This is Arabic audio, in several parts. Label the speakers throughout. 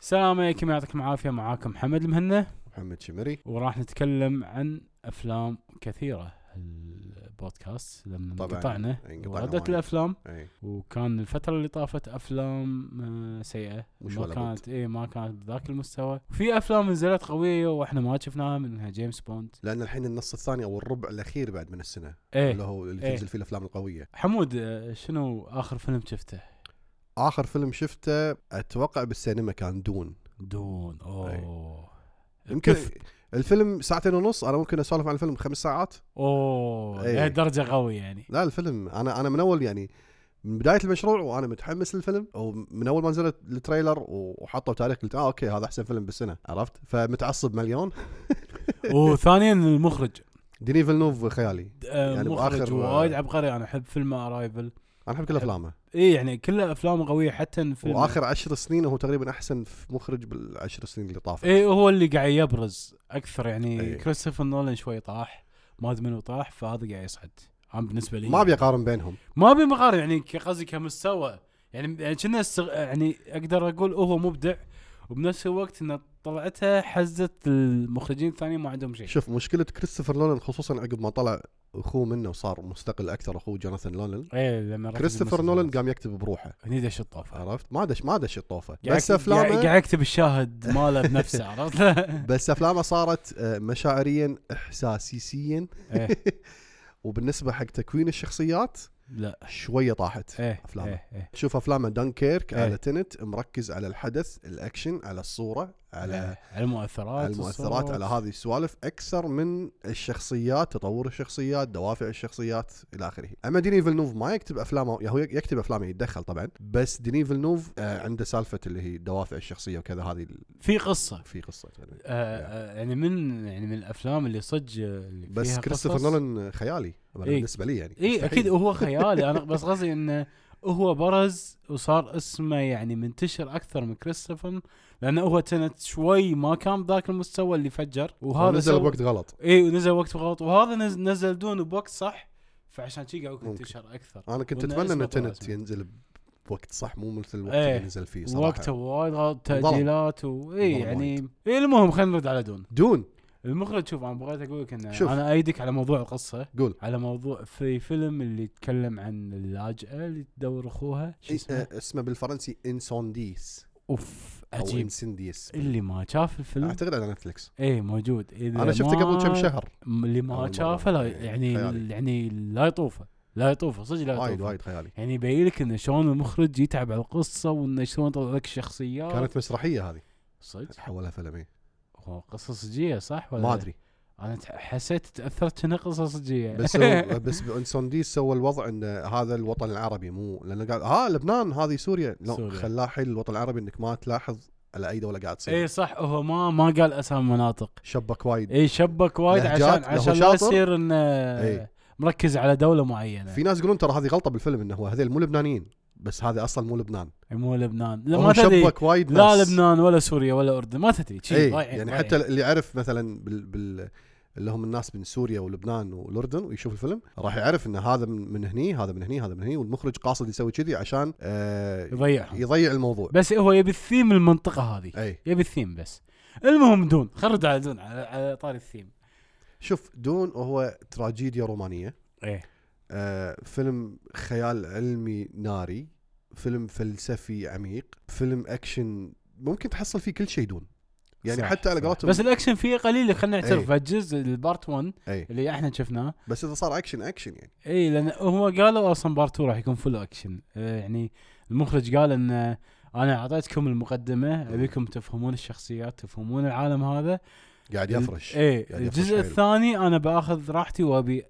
Speaker 1: السلام عليكم يعطيكم العافيه معاكم محمد المهنا
Speaker 2: محمد شمري
Speaker 1: وراح نتكلم عن افلام كثيره البودكاست لما
Speaker 2: طبعاً،
Speaker 1: انقطعنا
Speaker 2: انقطعنا
Speaker 1: وردت
Speaker 2: وايد.
Speaker 1: الافلام
Speaker 2: اي
Speaker 1: وكان الفتره اللي طافت افلام آه، سيئه
Speaker 2: مش
Speaker 1: ما
Speaker 2: ولا
Speaker 1: كانت اي ما كانت بذاك المستوى في افلام نزلت قويه واحنا ما شفناها منها جيمس بوند
Speaker 2: لان الحين النص الثاني او الربع الاخير بعد من السنه اللي
Speaker 1: ايه
Speaker 2: هو اللي
Speaker 1: إيه.
Speaker 2: تنزل فيه الافلام القويه
Speaker 1: حمود آه، شنو اخر فيلم شفته
Speaker 2: اخر فيلم شفته اتوقع بالسينما كان دون
Speaker 1: دون
Speaker 2: إيه.
Speaker 1: اوه
Speaker 2: يمكن
Speaker 1: كف.
Speaker 2: الفيلم ساعتين ونص انا ممكن اسولف عن الفيلم خمس ساعات
Speaker 1: اوه
Speaker 2: إيه.
Speaker 1: لهالدرجه قوي يعني
Speaker 2: لا الفيلم انا انا من اول يعني من بدايه المشروع وانا متحمس للفيلم ومن اول ما نزلت التريلر وحطوا تاريخ قلت اه اوكي هذا احسن فيلم بالسنه عرفت فمتعصب مليون
Speaker 1: وثانيا المخرج
Speaker 2: ديني فيلنوف خيالي
Speaker 1: آه،
Speaker 2: يعني
Speaker 1: مخرج
Speaker 2: بآخر-
Speaker 1: وايد عبقري انا احب فيلم ارايفل
Speaker 2: انا احب كل افلامه
Speaker 1: اي يعني كله افلامه قويه حتى فيلم
Speaker 2: واخر عشر سنين هو تقريبا احسن في مخرج بالعشر سنين اللي طافت
Speaker 1: اي إيه، هو اللي قاعد يبرز اكثر يعني
Speaker 2: إيه.
Speaker 1: كريستوفر نولان شوي طاح ما ادري منو طاح فهذا قاعد يصعد انا بالنسبه لي
Speaker 2: ما ابي اقارن بينهم
Speaker 1: ما ابي مقارنه يعني ك- قصدي كمستوى يعني يعني كنا استغ... يعني اقدر اقول هو مبدع وبنفس الوقت انه طلعتها حزت المخرجين الثانيين ما عندهم شيء
Speaker 2: شوف مشكله كريستوفر لونان خصوصا عقب ما طلع اخوه منه وصار مستقل اكثر اخوه جوناثان لونان
Speaker 1: اي إيه، لما ركز
Speaker 2: كريستوفر
Speaker 1: بالمسلسل.
Speaker 2: نولان قام يكتب بروحه
Speaker 1: هني دش الطوفه
Speaker 2: عرفت ما دش ما دش الطوفه
Speaker 1: قاعد-
Speaker 2: بس
Speaker 1: قاعد-
Speaker 2: افلامه
Speaker 1: قاعد يكتب الشاهد ماله بنفسه عرفت؟
Speaker 2: بس افلامه صارت آه، مشاعريا احساسيسيا
Speaker 1: إيه.
Speaker 2: وبالنسبه حق تكوين الشخصيات
Speaker 1: لا
Speaker 2: شويه طاحت
Speaker 1: ايه
Speaker 2: أفلامه.
Speaker 1: إيه، إيه.
Speaker 2: تشوف افلامه دانكيرك
Speaker 1: إيه.
Speaker 2: على تنت مركز على الحدث الاكشن على الصوره على
Speaker 1: إيه، على المؤثرات
Speaker 2: على المؤثرات
Speaker 1: الصوت.
Speaker 2: على هذه السوالف اكثر من الشخصيات تطور الشخصيات دوافع الشخصيات الى اخره اما ديني فيلنوف ما يكتب افلامه يعني هو يكتب افلامه يتدخل طبعا بس ديني فيلنوف آه عنده سالفه اللي هي دوافع الشخصيه وكذا هذه ال-
Speaker 1: في قصه
Speaker 2: في قصه يعني.
Speaker 1: آه، آه، يعني من يعني من الافلام اللي صدق آه، اللي
Speaker 2: بس
Speaker 1: فيها
Speaker 2: كريستوفر
Speaker 1: قصص.
Speaker 2: نولان خيالي أنا
Speaker 1: إيه.
Speaker 2: بالنسبه لي يعني
Speaker 1: اي
Speaker 2: مستحيل.
Speaker 1: اكيد هو خيالي انا بس قصدي انه هو برز وصار اسمه يعني منتشر اكثر من كريستوفر لانه هو كانت شوي ما كان بذاك المستوى اللي فجر
Speaker 2: هو
Speaker 1: وهذا
Speaker 2: نزل
Speaker 1: سوى-
Speaker 2: بوقت غلط
Speaker 1: اي ونزل وقت غلط وهذا نز- نزل دون بوقت صح فعشان شي قاعد ينتشر اكثر
Speaker 2: انا كنت
Speaker 1: وإنه
Speaker 2: اتمنى
Speaker 1: اسمه
Speaker 2: ان
Speaker 1: طلع
Speaker 2: تنت
Speaker 1: اسمه.
Speaker 2: ينزل بوقت صح مو مثل الوقت
Speaker 1: إيه.
Speaker 2: اللي نزل فيه صراحه
Speaker 1: وقته وايد غلط
Speaker 2: انظلم.
Speaker 1: تاجيلات واي
Speaker 2: انظلم
Speaker 1: يعني اي المهم خلينا نرد على دون
Speaker 2: دون
Speaker 1: المخرج شوف انا بغيت اقول لك انه
Speaker 2: شوف.
Speaker 1: انا ايدك على موضوع القصه
Speaker 2: قول
Speaker 1: على موضوع في فيلم اللي يتكلم عن اللاجئه اللي تدور اخوها شو
Speaker 2: إيه،
Speaker 1: اسمه؟
Speaker 2: آه، اسمه بالفرنسي انسونديس
Speaker 1: اوف
Speaker 2: او
Speaker 1: عجيب
Speaker 2: انسنديس
Speaker 1: اللي ما شاف الفيلم
Speaker 2: اعتقد على نتفلكس
Speaker 1: ايه موجود إذا
Speaker 2: انا شفته
Speaker 1: ما-
Speaker 2: قبل كم شهر
Speaker 1: اللي ما
Speaker 2: أول
Speaker 1: شافه لا
Speaker 2: مرة.
Speaker 1: يعني
Speaker 2: خيالي.
Speaker 1: يعني لا يطوفه لا يطوفه صدق لا
Speaker 2: وايد
Speaker 1: يطوفه
Speaker 2: وايد خيالي
Speaker 1: يعني يبين لك انه شلون المخرج يتعب على القصه وانه شلون يطلع لك الشخصيات
Speaker 2: كانت مسرحيه هذه
Speaker 1: صدق
Speaker 2: حولها فيلم إيه.
Speaker 1: هو قصه صجيه صح ولا
Speaker 2: ما
Speaker 1: لا؟
Speaker 2: ادري
Speaker 1: انا ت- حسيت تاثرت انها قصه صجيه
Speaker 2: بس هو بس انسونديس سوى الوضع ان هذا الوطن العربي مو لانه قال ها لبنان هذه سوريا لا
Speaker 1: سوريا.
Speaker 2: خلاه حيل الوطن العربي انك ما تلاحظ على اي دوله قاعد تصير
Speaker 1: اي إيه صح هو ما ما قال اسامي مناطق
Speaker 2: شبك وايد
Speaker 1: اي شبك وايد
Speaker 2: لهجات،
Speaker 1: عشان
Speaker 2: له
Speaker 1: عشان لا
Speaker 2: شاطر.
Speaker 1: يصير انه
Speaker 2: إي.
Speaker 1: مركز على دوله معينه
Speaker 2: في ناس يقولون ترى هذه غلطه بالفيلم انه هو هذيل مو لبنانيين بس هذا اصلا مو لبنان
Speaker 1: إيه، مو لبنان لا ما
Speaker 2: هو
Speaker 1: تدري
Speaker 2: شبك وايد
Speaker 1: لا
Speaker 2: ناس.
Speaker 1: لبنان ولا سوريا ولا اردن ما تدري شي
Speaker 2: اي
Speaker 1: ضايعين-
Speaker 2: يعني
Speaker 1: ضايعين.
Speaker 2: حتى اللي يعرف مثلا بال, بال اللي هم الناس من سوريا ولبنان والاردن ويشوف الفيلم راح يعرف ان هذا من من هني هذا من هني هذا من هني والمخرج قاصد يسوي كذي عشان آه
Speaker 1: يضيعهم
Speaker 2: يضيع الموضوع إيه.
Speaker 1: بس هو يبي الثيم المنطقه هذه
Speaker 2: اي
Speaker 1: يبي الثيم بس المهم دون خرج على دون على, على طاري الثيم
Speaker 2: شوف دون وهو تراجيديا رومانيه
Speaker 1: ايه
Speaker 2: آه فيلم خيال علمي ناري فيلم فلسفي عميق فيلم اكشن ممكن تحصل فيه كل شيء دون يعني
Speaker 1: صح،
Speaker 2: حتى على
Speaker 1: صح.
Speaker 2: قولتهم
Speaker 1: بس الاكشن فيه قليل خلينا نعترف
Speaker 2: إيه.
Speaker 1: الجزء البارت 1
Speaker 2: اي
Speaker 1: اللي احنا شفناه
Speaker 2: إيه. بس اذا صار اكشن اكشن يعني
Speaker 1: اي لان هو قالوا اصلا بارت 2 راح يكون فل اكشن آه، يعني المخرج قال ان آه، انا اعطيتكم المقدمه ابيكم تفهمون الشخصيات تفهمون العالم هذا
Speaker 2: قاعد يفرش
Speaker 1: اي
Speaker 2: يعني يفرش
Speaker 1: الجزء
Speaker 2: حيل.
Speaker 1: الثاني انا باخذ راحتي وابي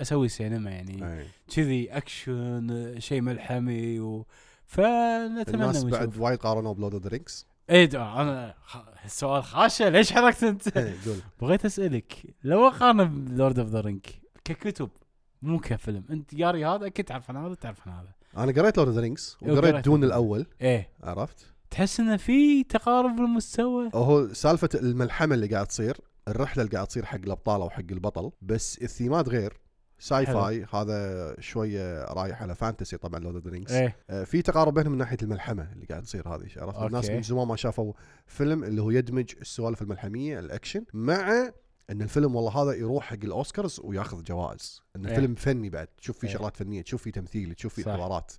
Speaker 1: اسوي سينما يعني
Speaker 2: أي.
Speaker 1: كذي اكشن آه، شيء ملحمي و فنتمنى
Speaker 2: الناس
Speaker 1: ونشوف.
Speaker 2: بعد وايد قارنوا بلود درينكس
Speaker 1: اي دعاء، انا خ- السؤال خاشه ليش حركت انت؟
Speaker 2: إيه، قول
Speaker 1: بغيت اسالك لو اقارن بلورد اوف ذا رينج ككتب مو كفيلم انت قاري هذا اكيد تعرف عن هذا تعرف عن هذا
Speaker 2: انا قريت لورد رينجز
Speaker 1: إيه، قريت.
Speaker 2: وقريت دون الاول
Speaker 1: ايه
Speaker 2: عرفت
Speaker 1: تحس انه في تقارب بالمستوى
Speaker 2: هو سالفه الملحمه اللي قاعد تصير الرحله اللي قاعد تصير حق الابطال او حق البطل بس الثيمات غير ساي
Speaker 1: حلو.
Speaker 2: فاي هذا شويه رايح على فانتسي طبعا لورد اوف ذا رينجز
Speaker 1: ايه
Speaker 2: آه، في تقارب بينهم من ناحيه الملحمه اللي قاعد تصير هذه عرفت الناس
Speaker 1: أوكي.
Speaker 2: من زمان ما شافوا فيلم اللي هو يدمج السوالف الملحميه الاكشن مع ان الفيلم والله هذا يروح حق الاوسكارز وياخذ جوائز ان
Speaker 1: إيه.
Speaker 2: الفيلم فني بعد تشوف فيه
Speaker 1: إيه.
Speaker 2: شغلات فنيه تشوف فيه تمثيل تشوف فيه
Speaker 1: صح.
Speaker 2: حوارات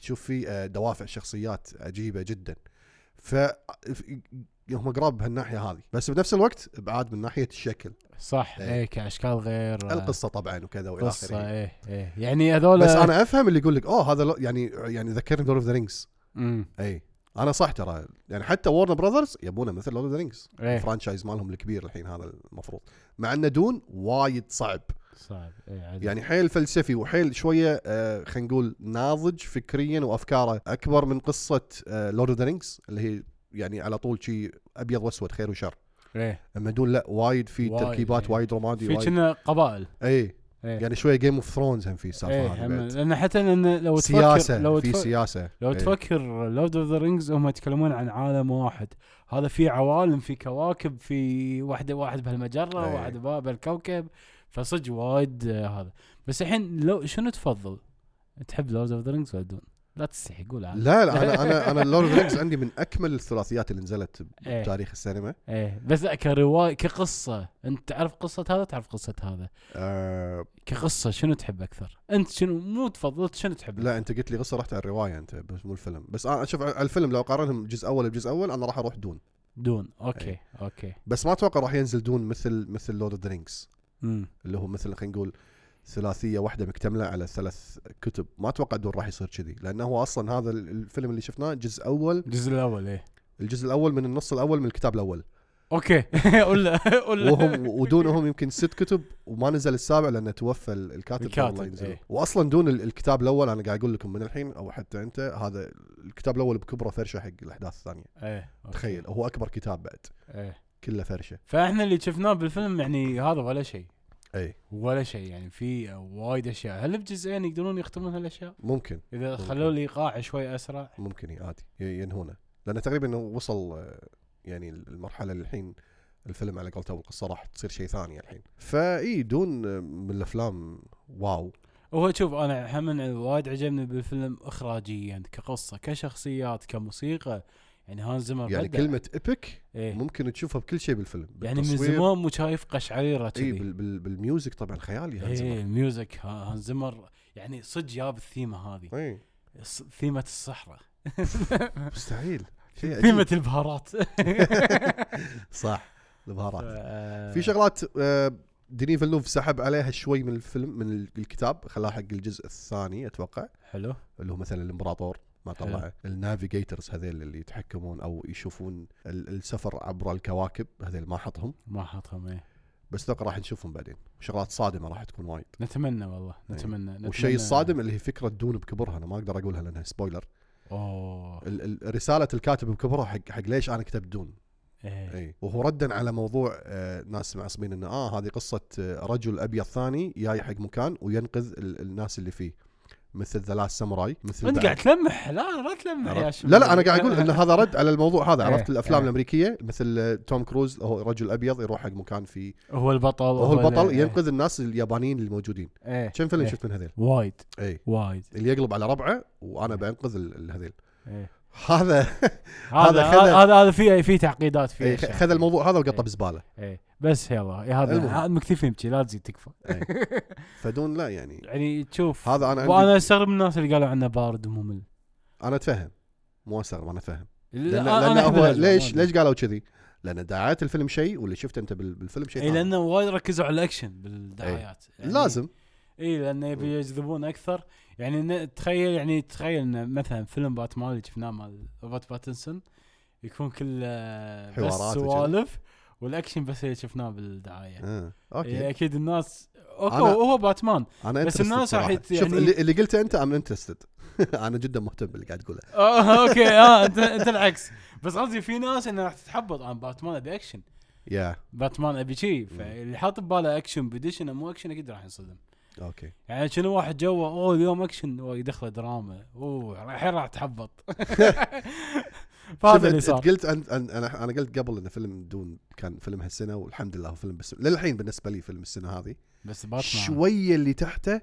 Speaker 2: تشوف فيه آه، دوافع شخصيات عجيبه جدا ف هم قراب بهالناحيه هذه بس بنفس الوقت بعاد من ناحيه الشكل
Speaker 1: صح
Speaker 2: إيه.
Speaker 1: ايه كاشكال غير
Speaker 2: القصه طبعا وكذا والى
Speaker 1: قصه
Speaker 2: اخره
Speaker 1: ايه ايه يعني هذول
Speaker 2: بس انا افهم اللي يقول لك اوه هذا لو- يعني يعني ذكرني لورد اوف ذا رينجز
Speaker 1: امم
Speaker 2: اي انا صح ترى يعني حتى ورن براذرز يبونه مثل لورد اوف ذا رينجز
Speaker 1: ايه
Speaker 2: الفرانشايز مالهم الكبير الحين هذا المفروض مع انه دون وايد صعب
Speaker 1: صعب ايه عدل.
Speaker 2: يعني حيل فلسفي وحيل شويه آه خلينا نقول ناضج فكريا وافكاره اكبر من قصه آه لورد اوف ذا رينجز اللي هي يعني على طول شيء ابيض واسود خير وشر
Speaker 1: ايه
Speaker 2: اما دون لا وايد في
Speaker 1: وايد،
Speaker 2: تركيبات
Speaker 1: إيه.
Speaker 2: وايد رمادي
Speaker 1: في
Speaker 2: وايد
Speaker 1: كنا قبائل
Speaker 2: اي
Speaker 1: ايه
Speaker 2: يعني شويه جيم اوف ثرونز هم في
Speaker 1: ايه
Speaker 2: السالفه هذه
Speaker 1: هم-
Speaker 2: بعد.
Speaker 1: لان حتى لان لو
Speaker 2: سياسه
Speaker 1: تفكر لو
Speaker 2: في
Speaker 1: تفكر
Speaker 2: سياسه
Speaker 1: لو
Speaker 2: إيه.
Speaker 1: تفكر لورد اوف ذا رينجز هم يتكلمون عن عالم واحد هذا في عوالم في كواكب في واحد واحد بهالمجره
Speaker 2: أي.
Speaker 1: واحد بها- بهالكوكب فصج وايد آه، هذا بس الحين لو شنو تفضل؟ تحب لورد اوف ذا رينجز ولا دون؟ لا تستحي قول عاد.
Speaker 2: لا لا انا انا انا لورد رينجز عندي من اكمل الثلاثيات اللي نزلت
Speaker 1: إيه.
Speaker 2: بتاريخ السينما
Speaker 1: ايه بس لا كروايه كقصه انت تعرف قصه هذا تعرف قصه هذا
Speaker 2: آه
Speaker 1: كقصه شنو تحب اكثر؟ انت شنو مو تفضلت شنو تحب؟
Speaker 2: لا انت قلت لي قصه رحت على الروايه انت بس مو الفيلم بس انا اشوف على الفيلم لو قارنهم جزء اول بجزء اول انا راح اروح دون
Speaker 1: دون اوكي
Speaker 2: إيه.
Speaker 1: اوكي
Speaker 2: بس ما اتوقع راح ينزل دون مثل مثل لورد اوف درينكس
Speaker 1: امم
Speaker 2: اللي هو مثل خلينا نقول ثلاثيه واحده مكتمله على ثلاث كتب ما اتوقع دون راح يصير كذي لانه هو اصلا هذا ال- الفيلم اللي شفناه جزء اول
Speaker 1: الجزء الاول ايه
Speaker 2: الجزء الاول من النص الاول من الكتاب الاول
Speaker 1: اوكي قول قول
Speaker 2: وهم ودونهم يمكن ست كتب وما نزل السابع لانه توفى ال- الكاتب قبل لا
Speaker 1: الكاتب،
Speaker 2: ينزل.
Speaker 1: إيه.
Speaker 2: واصلا دون ال- الكتاب الاول انا قاعد اقول لكم من الحين او حتى انت هذا الكتاب الاول بكبره فرشه حق الاحداث الثانيه
Speaker 1: ايه أوكي.
Speaker 2: تخيل هو اكبر كتاب بعد
Speaker 1: ايه
Speaker 2: كله فرشه
Speaker 1: فاحنا اللي شفناه بالفيلم يعني هذا ولا شيء
Speaker 2: اي
Speaker 1: ولا شيء يعني في وايد اشياء هل بجزئين يقدرون يختمون هالاشياء؟
Speaker 2: ممكن
Speaker 1: اذا
Speaker 2: ممكن.
Speaker 1: خلوا لي ايقاع شوي اسرع
Speaker 2: ممكن إي، عادي ي- ينهونه لانه تقريبا وصل آه، يعني المرحله اللي الحين الفيلم على قولته القصه راح تصير شيء ثاني الحين فاي دون آه، من الافلام واو
Speaker 1: هو شوف انا هم وايد عجبني بالفيلم اخراجيا كقصه كشخصيات كموسيقى يعني هانز زمر
Speaker 2: يعني
Speaker 1: بدع.
Speaker 2: كلمه ايبك
Speaker 1: إيه.
Speaker 2: ممكن تشوفها بكل شيء بالفيلم
Speaker 1: يعني من
Speaker 2: بالتصوير،
Speaker 1: زمان مو شايف قشعريره
Speaker 2: اي
Speaker 1: كذي
Speaker 2: إيه، بال بال بالميوزك طبعا خيالي هانز
Speaker 1: ايه
Speaker 2: زمر
Speaker 1: الميوزك ها- هانز زمر يعني صدق جاب الثيمه هذه
Speaker 2: اي
Speaker 1: الص- ثيمه الصحراء
Speaker 2: مستحيل شيء
Speaker 1: ثيمه
Speaker 2: عجيب.
Speaker 1: البهارات
Speaker 2: صح البهارات
Speaker 1: آه،
Speaker 2: في شغلات آه، ديني فيلنوف سحب عليها شوي من الفيلم من ال- الكتاب خلاها حق الجزء الثاني اتوقع
Speaker 1: حلو
Speaker 2: اللي هو مثلا الامبراطور ما طلعه النافيجيترز هذيل اللي يتحكمون او يشوفون ال- السفر عبر الكواكب هذيل ما حطهم
Speaker 1: ما حطهم ايه
Speaker 2: بس اتوقع راح نشوفهم بعدين شغلات صادمه راح تكون وايد
Speaker 1: نتمنى والله نتمنى نتمنى
Speaker 2: إيه. والشيء الصادم اللي هي فكره دون بكبرها انا ما اقدر اقولها لانها سبويلر
Speaker 1: اوه
Speaker 2: ال- ال- رساله الكاتب بكبرها حق حق ليش انا كتبت دون
Speaker 1: ايه
Speaker 2: اي إيه. وهو ردا على موضوع آه ناس معصبين انه اه هذه قصه آه رجل ابيض ثاني جاي حق مكان وينقذ ال- الناس اللي فيه مثل ذا لاست ساموراي مثل
Speaker 1: انت
Speaker 2: بعد.
Speaker 1: قاعد تلمح لا لا تلمح يا
Speaker 2: عرفت؟
Speaker 1: شباب
Speaker 2: لا لا انا قاعد اقول ان هذا رد على الموضوع هذا
Speaker 1: إيه،
Speaker 2: عرفت الافلام
Speaker 1: إيه.
Speaker 2: الامريكيه مثل آه، توم كروز هو رجل ابيض يروح حق مكان فيه
Speaker 1: هو البطل
Speaker 2: وهو البطل
Speaker 1: ال-
Speaker 2: ينقذ الناس اليابانيين اللي موجودين
Speaker 1: ايه
Speaker 2: كم فيلم
Speaker 1: إيه.
Speaker 2: شفت من هذيل
Speaker 1: وايد
Speaker 2: اي
Speaker 1: وايد
Speaker 2: اللي يقلب على ربعه وانا بنقذ ال- ال- هذيل
Speaker 1: إيه.
Speaker 2: هذا
Speaker 1: هذا
Speaker 2: خذ-
Speaker 1: هذا هذا في في تعقيدات في
Speaker 2: إيه،
Speaker 1: أشياء.
Speaker 2: خذ الموضوع هذا وقطه
Speaker 1: إيه.
Speaker 2: بزباله
Speaker 1: ايه بس يلا يا هذا
Speaker 2: المهم.
Speaker 1: ها- مكتفين بشي لا تزيد تكفى
Speaker 2: فدون لا يعني
Speaker 1: يعني تشوف
Speaker 2: هذا انا عندي
Speaker 1: وانا استغرب الناس اللي قالوا عنه بارد وممل
Speaker 2: انا اتفهم مو استغرب انا اتفهم
Speaker 1: لا
Speaker 2: لان, لأن هو ليش ليش قالوا كذي؟ لان دعايات الفيلم شيء واللي شفته انت بال- بالفيلم شيء
Speaker 1: اي
Speaker 2: ثاني.
Speaker 1: لانه وايد ركزوا على الاكشن بالدعايات إيه، يعني-
Speaker 2: إيه. لازم
Speaker 1: اي لانه إيه، يبي يجذبون اكثر يعني ن- تخيل يعني تخيل ان مثلا فيلم باتمان اللي شفناه مال روبرت باتنسون يكون كله بس
Speaker 2: حوارات وجذي.
Speaker 1: سوالف والاكشن بس اللي شفناه بالدعايه
Speaker 2: آه.
Speaker 1: إيه
Speaker 2: اوكي
Speaker 1: اكيد الناس اوكي
Speaker 2: أنا-
Speaker 1: هو باتمان
Speaker 2: انا
Speaker 1: بس
Speaker 2: interested
Speaker 1: الناس راح
Speaker 2: صراحة.
Speaker 1: يت-
Speaker 2: شوف
Speaker 1: يعني-
Speaker 2: اللي, اللي قلته انت ام انترستد انا جدا مهتم باللي قاعد تقوله
Speaker 1: آه اوكي اه انت انت العكس بس قصدي في ناس انها راح تتحبط عن باتمان ابي اكشن
Speaker 2: يا
Speaker 1: باتمان ابي شي فاللي حاط بباله اكشن بدش انه مو اكشن اكيد راح ينصدم
Speaker 2: اوكي
Speaker 1: يعني شنو واحد جوه اوه اليوم اكشن يدخله دراما اوه الحين راح تحبط
Speaker 2: شوف
Speaker 1: فهذا اللي
Speaker 2: أنت-
Speaker 1: صار
Speaker 2: أنت قلت أن- أن- انا انا قلت قبل ان فيلم دون كان فيلم هالسنه والحمد لله هو فيلم بس للحين بالنسبه لي فيلم السنه هذه
Speaker 1: بس باتمان
Speaker 2: شويه اللي تحته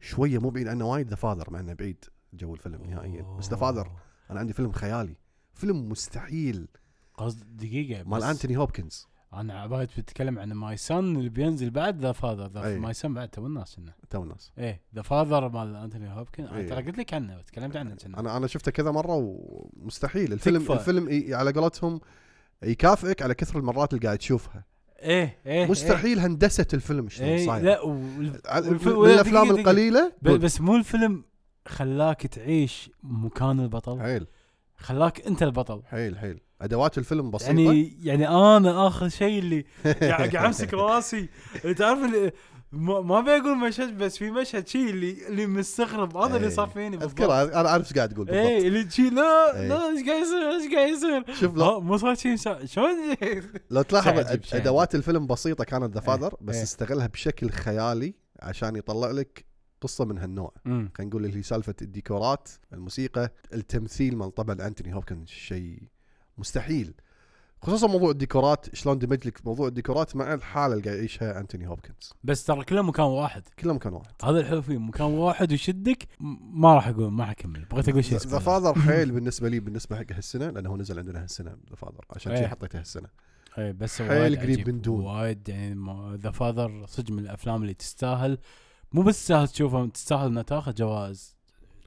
Speaker 2: شويه مو بعيد عنه وايد ذا فاذر مع انه بعيد جو الفيلم نهائيا بس ذا فاذر
Speaker 1: أوه.
Speaker 2: انا عندي فيلم خيالي فيلم مستحيل
Speaker 1: قصد دقيقه
Speaker 2: مال
Speaker 1: بس
Speaker 2: انتوني هوبكنز
Speaker 1: انا عباية بتتكلم عن ماي سن اللي بينزل بعد ذا فاذر
Speaker 2: أي.
Speaker 1: ماي سن بعد تو الناس انه
Speaker 2: تو الناس
Speaker 1: ايه ذا فاذر مال انتوني هوبكن
Speaker 2: أي.
Speaker 1: انا ترى قلت لك عنه تكلمت عنه كنا
Speaker 2: انا انا شفته كذا مره ومستحيل الفيلم
Speaker 1: تكفى.
Speaker 2: الفيلم ي- على قولتهم يكافئك على كثر المرات اللي قاعد تشوفها
Speaker 1: ايه ايه
Speaker 2: مستحيل هندسه الفيلم شلون
Speaker 1: ايه, إيه
Speaker 2: صايره
Speaker 1: لا وال-
Speaker 2: على-
Speaker 1: والف-
Speaker 2: من
Speaker 1: ولا
Speaker 2: الافلام
Speaker 1: دقيقة- دقيقة.
Speaker 2: القليله
Speaker 1: ب- بس مو الفيلم خلاك تعيش مكان البطل
Speaker 2: حيل
Speaker 1: خلاك انت البطل
Speaker 2: حيل حيل ادوات الفيلم بسيطه
Speaker 1: يعني يعني انا اخر شيء اللي قاعد قاعد امسك راسي تعرف اللي ما ما بقول مشهد بس في مشهد شيء اللي اللي مستغرب هذا اللي
Speaker 2: إيه.
Speaker 1: صار فيني بالضبط
Speaker 2: اذكرها انا عارف ايش قاعد تقول بالضبط
Speaker 1: اي اللي شي لا
Speaker 2: إيه.
Speaker 1: لا ايش قاعد يصير ايش قاعد يصير
Speaker 2: شوف لو,
Speaker 1: لا مو صار شيء شا- شلون
Speaker 2: لو تلاحظ
Speaker 1: شيء عجيب، شيء عجيب.
Speaker 2: ادوات الفيلم بسيطه كانت ذا فاذر بس
Speaker 1: إيه.
Speaker 2: استغلها بشكل خيالي عشان يطلع لك قصه من هالنوع
Speaker 1: أمم.
Speaker 2: خلينا نقول اللي هي سالفه الديكورات الموسيقى التمثيل مال طبعا انتوني هوبكنز شيء مستحيل خصوصا موضوع الديكورات شلون دمج لك موضوع الديكورات مع الحاله اللي قاعد يعيشها انتوني هوبكنز
Speaker 1: بس ترى كله مكان واحد
Speaker 2: كلهم كان واحد
Speaker 1: هذا الحلو فيه مكان واحد ويشدك م- ما راح اقول ما راح اكمل بغيت اقول شيء
Speaker 2: ذا فاذر حيل بالنسبه لي بالنسبه حق هالسنه لانه هو نزل عندنا هالسنه ذا فاذر عشان
Speaker 1: إيه.
Speaker 2: كذي حطيته هالسنه
Speaker 1: اي إيه، بس
Speaker 2: حيل
Speaker 1: وايد
Speaker 2: قريب
Speaker 1: عجيب.
Speaker 2: من دون.
Speaker 1: وايد يعني ذا فاذر صدق من الافلام اللي تستاهل مو بس تستاهل تشوفها تستاهل انها تاخذ جوائز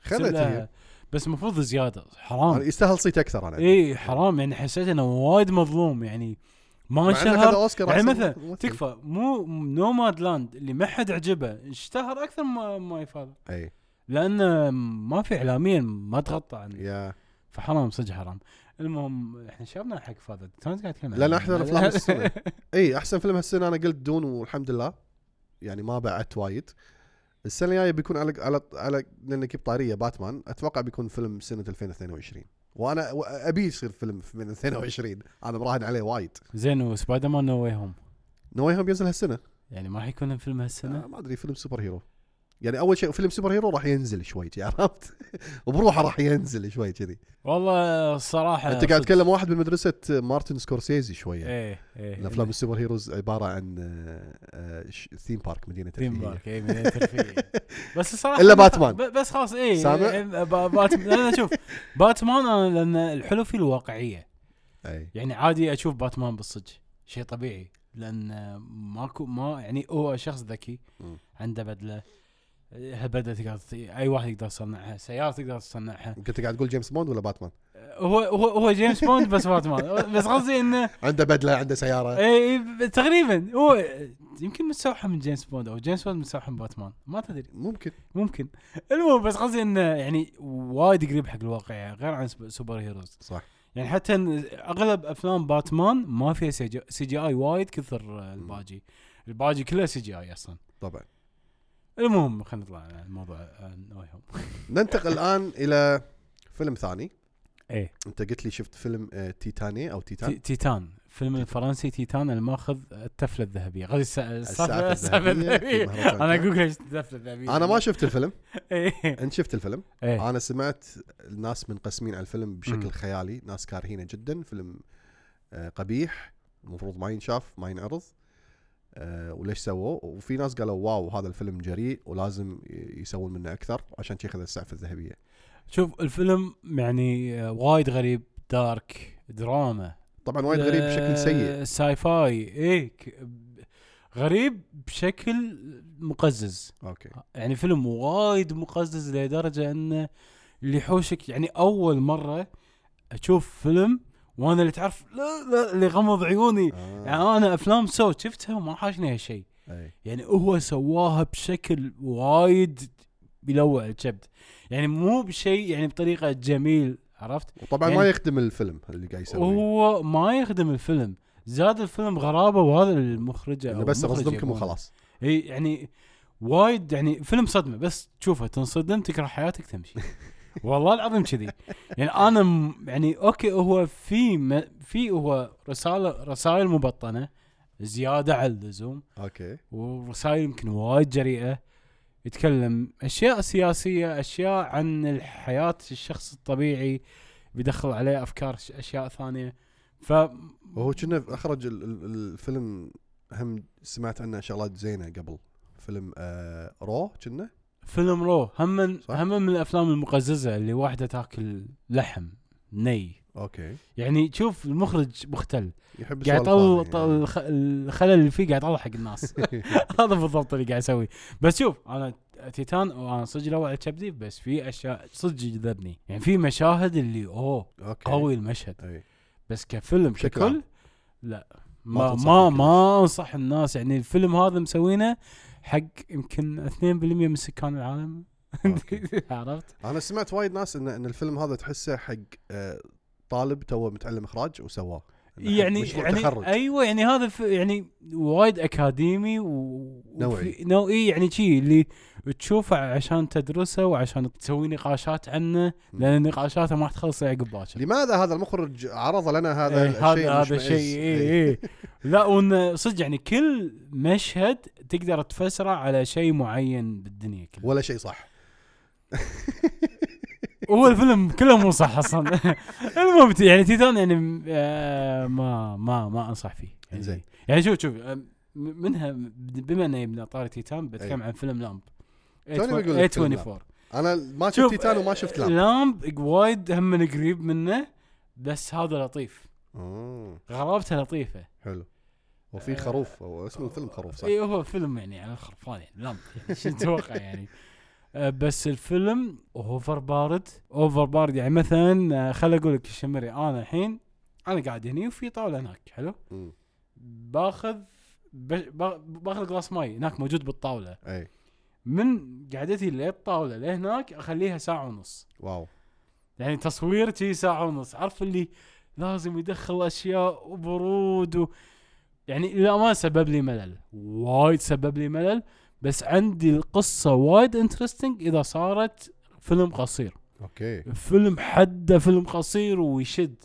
Speaker 2: خذت
Speaker 1: تسلها.
Speaker 2: هي.
Speaker 1: بس المفروض زياده
Speaker 2: أنا
Speaker 1: حرام
Speaker 2: يستاهل صيت اكثر انا
Speaker 1: اي حرام يعني حسيت انه وايد مظلوم يعني ما
Speaker 2: مع إنه خذ
Speaker 1: انشهر
Speaker 2: اوسكار
Speaker 1: يعني
Speaker 2: أحسن
Speaker 1: مثلا
Speaker 2: ممثل.
Speaker 1: تكفى مو نوماد لاند اللي ما حد عجبه اشتهر اكثر ما ماي فاذر
Speaker 2: اي
Speaker 1: لان ما في اعلاميا ما تغطى عنه
Speaker 2: يا
Speaker 1: فحرام صدق حرام المهم احنا شابنا حق فاذر تونا قاعد إيه؟ نتكلم
Speaker 2: لأن
Speaker 1: عنه.
Speaker 2: أحسن أفلام السنة. اي احسن فيلم هالسنه انا قلت دون والحمد لله يعني ما بعت وايد السنه الجايه بيكون على على على لانك بطاريه باتمان اتوقع بيكون فيلم سنه 2022 وانا و- ابي يصير فيلم من 22 انا مراهن عليه وايد
Speaker 1: زين وسبايدر مان نو واي هوم
Speaker 2: نو واي هوم بينزل هالسنه
Speaker 1: يعني ما راح يكون فيلم هالسنه
Speaker 2: آه، ما ادري فيلم سوبر هيرو يعني اول شيء فيلم سوبر هيرو راح ينزل شوي جي، عرفت؟ وبروحه راح ينزل شوي كذي
Speaker 1: والله الصراحه
Speaker 2: انت قاعد
Speaker 1: صدق.
Speaker 2: تتكلم واحد من مدرسه مارتن سكورسيزي شويه
Speaker 1: ايه ايه
Speaker 2: الافلام السوبر هيروز عباره عن آه، آه، ش- ثيم بارك مدينه
Speaker 1: ثيم
Speaker 2: ترفيهيه
Speaker 1: بارك اي مدينة ترفيهية. إيه، بس الصراحه
Speaker 2: إلا
Speaker 1: أنا
Speaker 2: باتمان.
Speaker 1: ب- بس خلاص إيه، اي
Speaker 2: سامع؟
Speaker 1: باتمان لان شوف باتمان انا لان الحلو فيه الواقعيه
Speaker 2: اي
Speaker 1: يعني عادي اشوف باتمان بالصدق شيء طبيعي لان ماكو ما يعني هو شخص ذكي
Speaker 2: مم.
Speaker 1: عنده بدله هالبدله تقدر اي واحد يقدر يصنعها سياره تقدر تصنعها
Speaker 2: كنت قاعد تقول جيمس بوند ولا باتمان؟
Speaker 1: هو هو هو جيمس بوند بس باتمان بس قصدي انه
Speaker 2: عنده بدله عنده سياره
Speaker 1: اي إي، تقريبا هو يمكن مستوحى من جيمس بوند او جيمس بوند مستوحى من باتمان ما تدري
Speaker 2: ممكن
Speaker 1: ممكن المهم بس قصدي انه يعني وايد قريب حق الواقع يعني غير عن سب- سوبر هيروز
Speaker 2: صح
Speaker 1: يعني حتى إن اغلب افلام باتمان ما فيها سي جي, سي جي اي وايد كثر الباجي الباجي كله سي جي اي اصلا
Speaker 2: طبعا
Speaker 1: المهم خلينا نطلع عن الموضوع آه، نو هوم
Speaker 2: ننتقل الان الى فيلم ثاني
Speaker 1: ايه
Speaker 2: انت قلت لي شفت فيلم آه، تيتاني او
Speaker 1: تي-
Speaker 2: تيتان
Speaker 1: تيتان فيلم الفرنسي تيتان اللي ماخذ التفله الذهبيه غادي الس- السالفه السالفه
Speaker 2: الذهبية في
Speaker 1: الذهبيه
Speaker 2: مهرجان
Speaker 1: انا
Speaker 2: كان.
Speaker 1: اقول لك ليش التفله الذهبيه
Speaker 2: انا ما آه. شفت الفيلم
Speaker 1: ايه
Speaker 2: انت شفت الفيلم
Speaker 1: ايه
Speaker 2: انا سمعت الناس منقسمين على الفيلم
Speaker 1: مم.
Speaker 2: بشكل خيالي ناس كارهينه جدا فيلم آه، قبيح المفروض ما ينشاف ما ينعرض آه، وليش سووه وفي ناس قالوا واو هذا الفيلم جريء ولازم ي- يسوون منه اكثر عشان شي خذ السعفه الذهبيه
Speaker 1: شوف الفيلم يعني آه، وايد غريب دارك دراما
Speaker 2: طبعا وايد غريب بشكل سيء
Speaker 1: آه، ساي فاي ايه ك- ب- غريب بشكل مقزز
Speaker 2: اوكي
Speaker 1: يعني فيلم وايد مقزز لدرجه انه اللي يحوشك يعني اول مره اشوف فيلم وانا اللي تعرف لا لا اللي غمض عيوني
Speaker 2: آه.
Speaker 1: يعني انا افلام سو شفتها وما حاشني هالشيء
Speaker 2: أي.
Speaker 1: يعني هو سواها بشكل وايد بيلوع الكبد يعني مو بشيء يعني بطريقه جميل عرفت
Speaker 2: وطبعا
Speaker 1: يعني-
Speaker 2: ما يخدم الفيلم اللي قاعد يسويه
Speaker 1: هو ما يخدم الفيلم زاد الفيلم غرابه وهذا المخرجه
Speaker 2: انه
Speaker 1: أو
Speaker 2: بس
Speaker 1: المخرج
Speaker 2: اصدمكم
Speaker 1: يبونه.
Speaker 2: وخلاص
Speaker 1: اي يعني وايد يعني فيلم صدمه بس تشوفه تنصدم تكره حياتك تمشي والله العظيم كذي يعني انا م- يعني اوكي هو في م- في هو رساله رسائل مبطنه زياده على اللزوم
Speaker 2: اوكي
Speaker 1: ورسائل يمكن وايد جريئه يتكلم اشياء سياسيه اشياء عن الحياه الشخص الطبيعي بيدخل عليه افكار ش- اشياء ثانيه ف
Speaker 2: وهو كنا اخرج ال- ال- الفيلم هم سمعت عنه شغلات زينه قبل فيلم آه رو كنا
Speaker 1: فيلم رو هم من
Speaker 2: صح.
Speaker 1: هم من الافلام المقززه اللي واحده تاكل لحم ني
Speaker 2: اوكي
Speaker 1: يعني شوف المخرج مختل
Speaker 2: يحب
Speaker 1: قاعد
Speaker 2: السوالف
Speaker 1: يطلع
Speaker 2: هذه
Speaker 1: طل-
Speaker 2: يعني.
Speaker 1: الخ- الخلل اللي فيه قاعد يطلع حق الناس هذا بالضبط اللي قاعد اسوي بس شوف انا تيتان وانا صدق لو على كبدي بس في اشياء صدق جذبني يعني في مشاهد اللي اوه
Speaker 2: اوكي
Speaker 1: قوي المشهد
Speaker 2: اي
Speaker 1: بس كفيلم
Speaker 2: بشكل
Speaker 1: ككل
Speaker 2: عام.
Speaker 1: لا
Speaker 2: ما
Speaker 1: ما ما
Speaker 2: تنصح فيه
Speaker 1: ما انصح الناس يعني الفيلم هذا مسوينه حق يمكن 2% من سكان العالم
Speaker 2: أوكي.
Speaker 1: عرفت؟
Speaker 2: انا سمعت وايد ناس ان ان الفيلم هذا تحسه حق آه، طالب توه متعلم اخراج وسواه إنه حق
Speaker 1: يعني
Speaker 2: مشروع
Speaker 1: يعني
Speaker 2: تخرج
Speaker 1: ايوه يعني هذا في يعني وايد اكاديمي و
Speaker 2: نوعي.
Speaker 1: وفي- نوعي يعني شيء اللي تشوفه عشان تدرسه وعشان تسوي نقاشات عنه لان نقاشاته ما تخلص عقب باكر
Speaker 2: لماذا هذا المخرج عرض لنا هذا
Speaker 1: إيه،
Speaker 2: الشيء
Speaker 1: هذا هذا
Speaker 2: المشمئز؟
Speaker 1: الشيء
Speaker 2: إيه.
Speaker 1: اي اي لا وانه صدق يعني كل مشهد تقدر تفسره على شيء معين بالدنيا كلها
Speaker 2: ولا شيء صح
Speaker 1: هو الفيلم كله مو صح اصلا المهم ت- يعني تيتان يعني آه، ما ما ما انصح فيه يعني
Speaker 2: زين.
Speaker 1: يعني شوف شوف آه، م- منها بما انه من اطار تيتان بتكلم
Speaker 2: أي.
Speaker 1: عن فيلم لامب
Speaker 2: توني بقول لك فيلم
Speaker 1: 824
Speaker 2: انا ما شفت
Speaker 1: شوف،
Speaker 2: تيتان وما شفت لام
Speaker 1: لامب وايد هم من قريب منه بس هذا لطيف
Speaker 2: أوه،
Speaker 1: غرابته لطيفه
Speaker 2: آه، حلو
Speaker 1: آه.
Speaker 2: وفي خروف هو اسمه الفيلم خروف صح
Speaker 1: اي هو فيلم يعني على الخرفان يعني لامب يعني شو تتوقع يعني آه، بس الفيلم اوفر بارد اوفر بارد يعني مثلا آه، خل اقول لك الشمري انا الحين انا قاعد هني وفي طاوله هناك حلو
Speaker 2: مم.
Speaker 1: باخذ ب- با- باخذ غلاس ماي هناك موجود بالطاوله
Speaker 2: اي
Speaker 1: من قعدتي للطاوله لهناك اخليها ساعه ونص
Speaker 2: واو
Speaker 1: يعني تصويرتي ساعه ونص عارف اللي لازم يدخل اشياء وبرود و... يعني للامانه سبب لي ملل وايد سبب لي ملل بس عندي القصه وايد انترستنج اذا صارت فيلم قصير
Speaker 2: اوكي
Speaker 1: فيلم حده فيلم قصير ويشد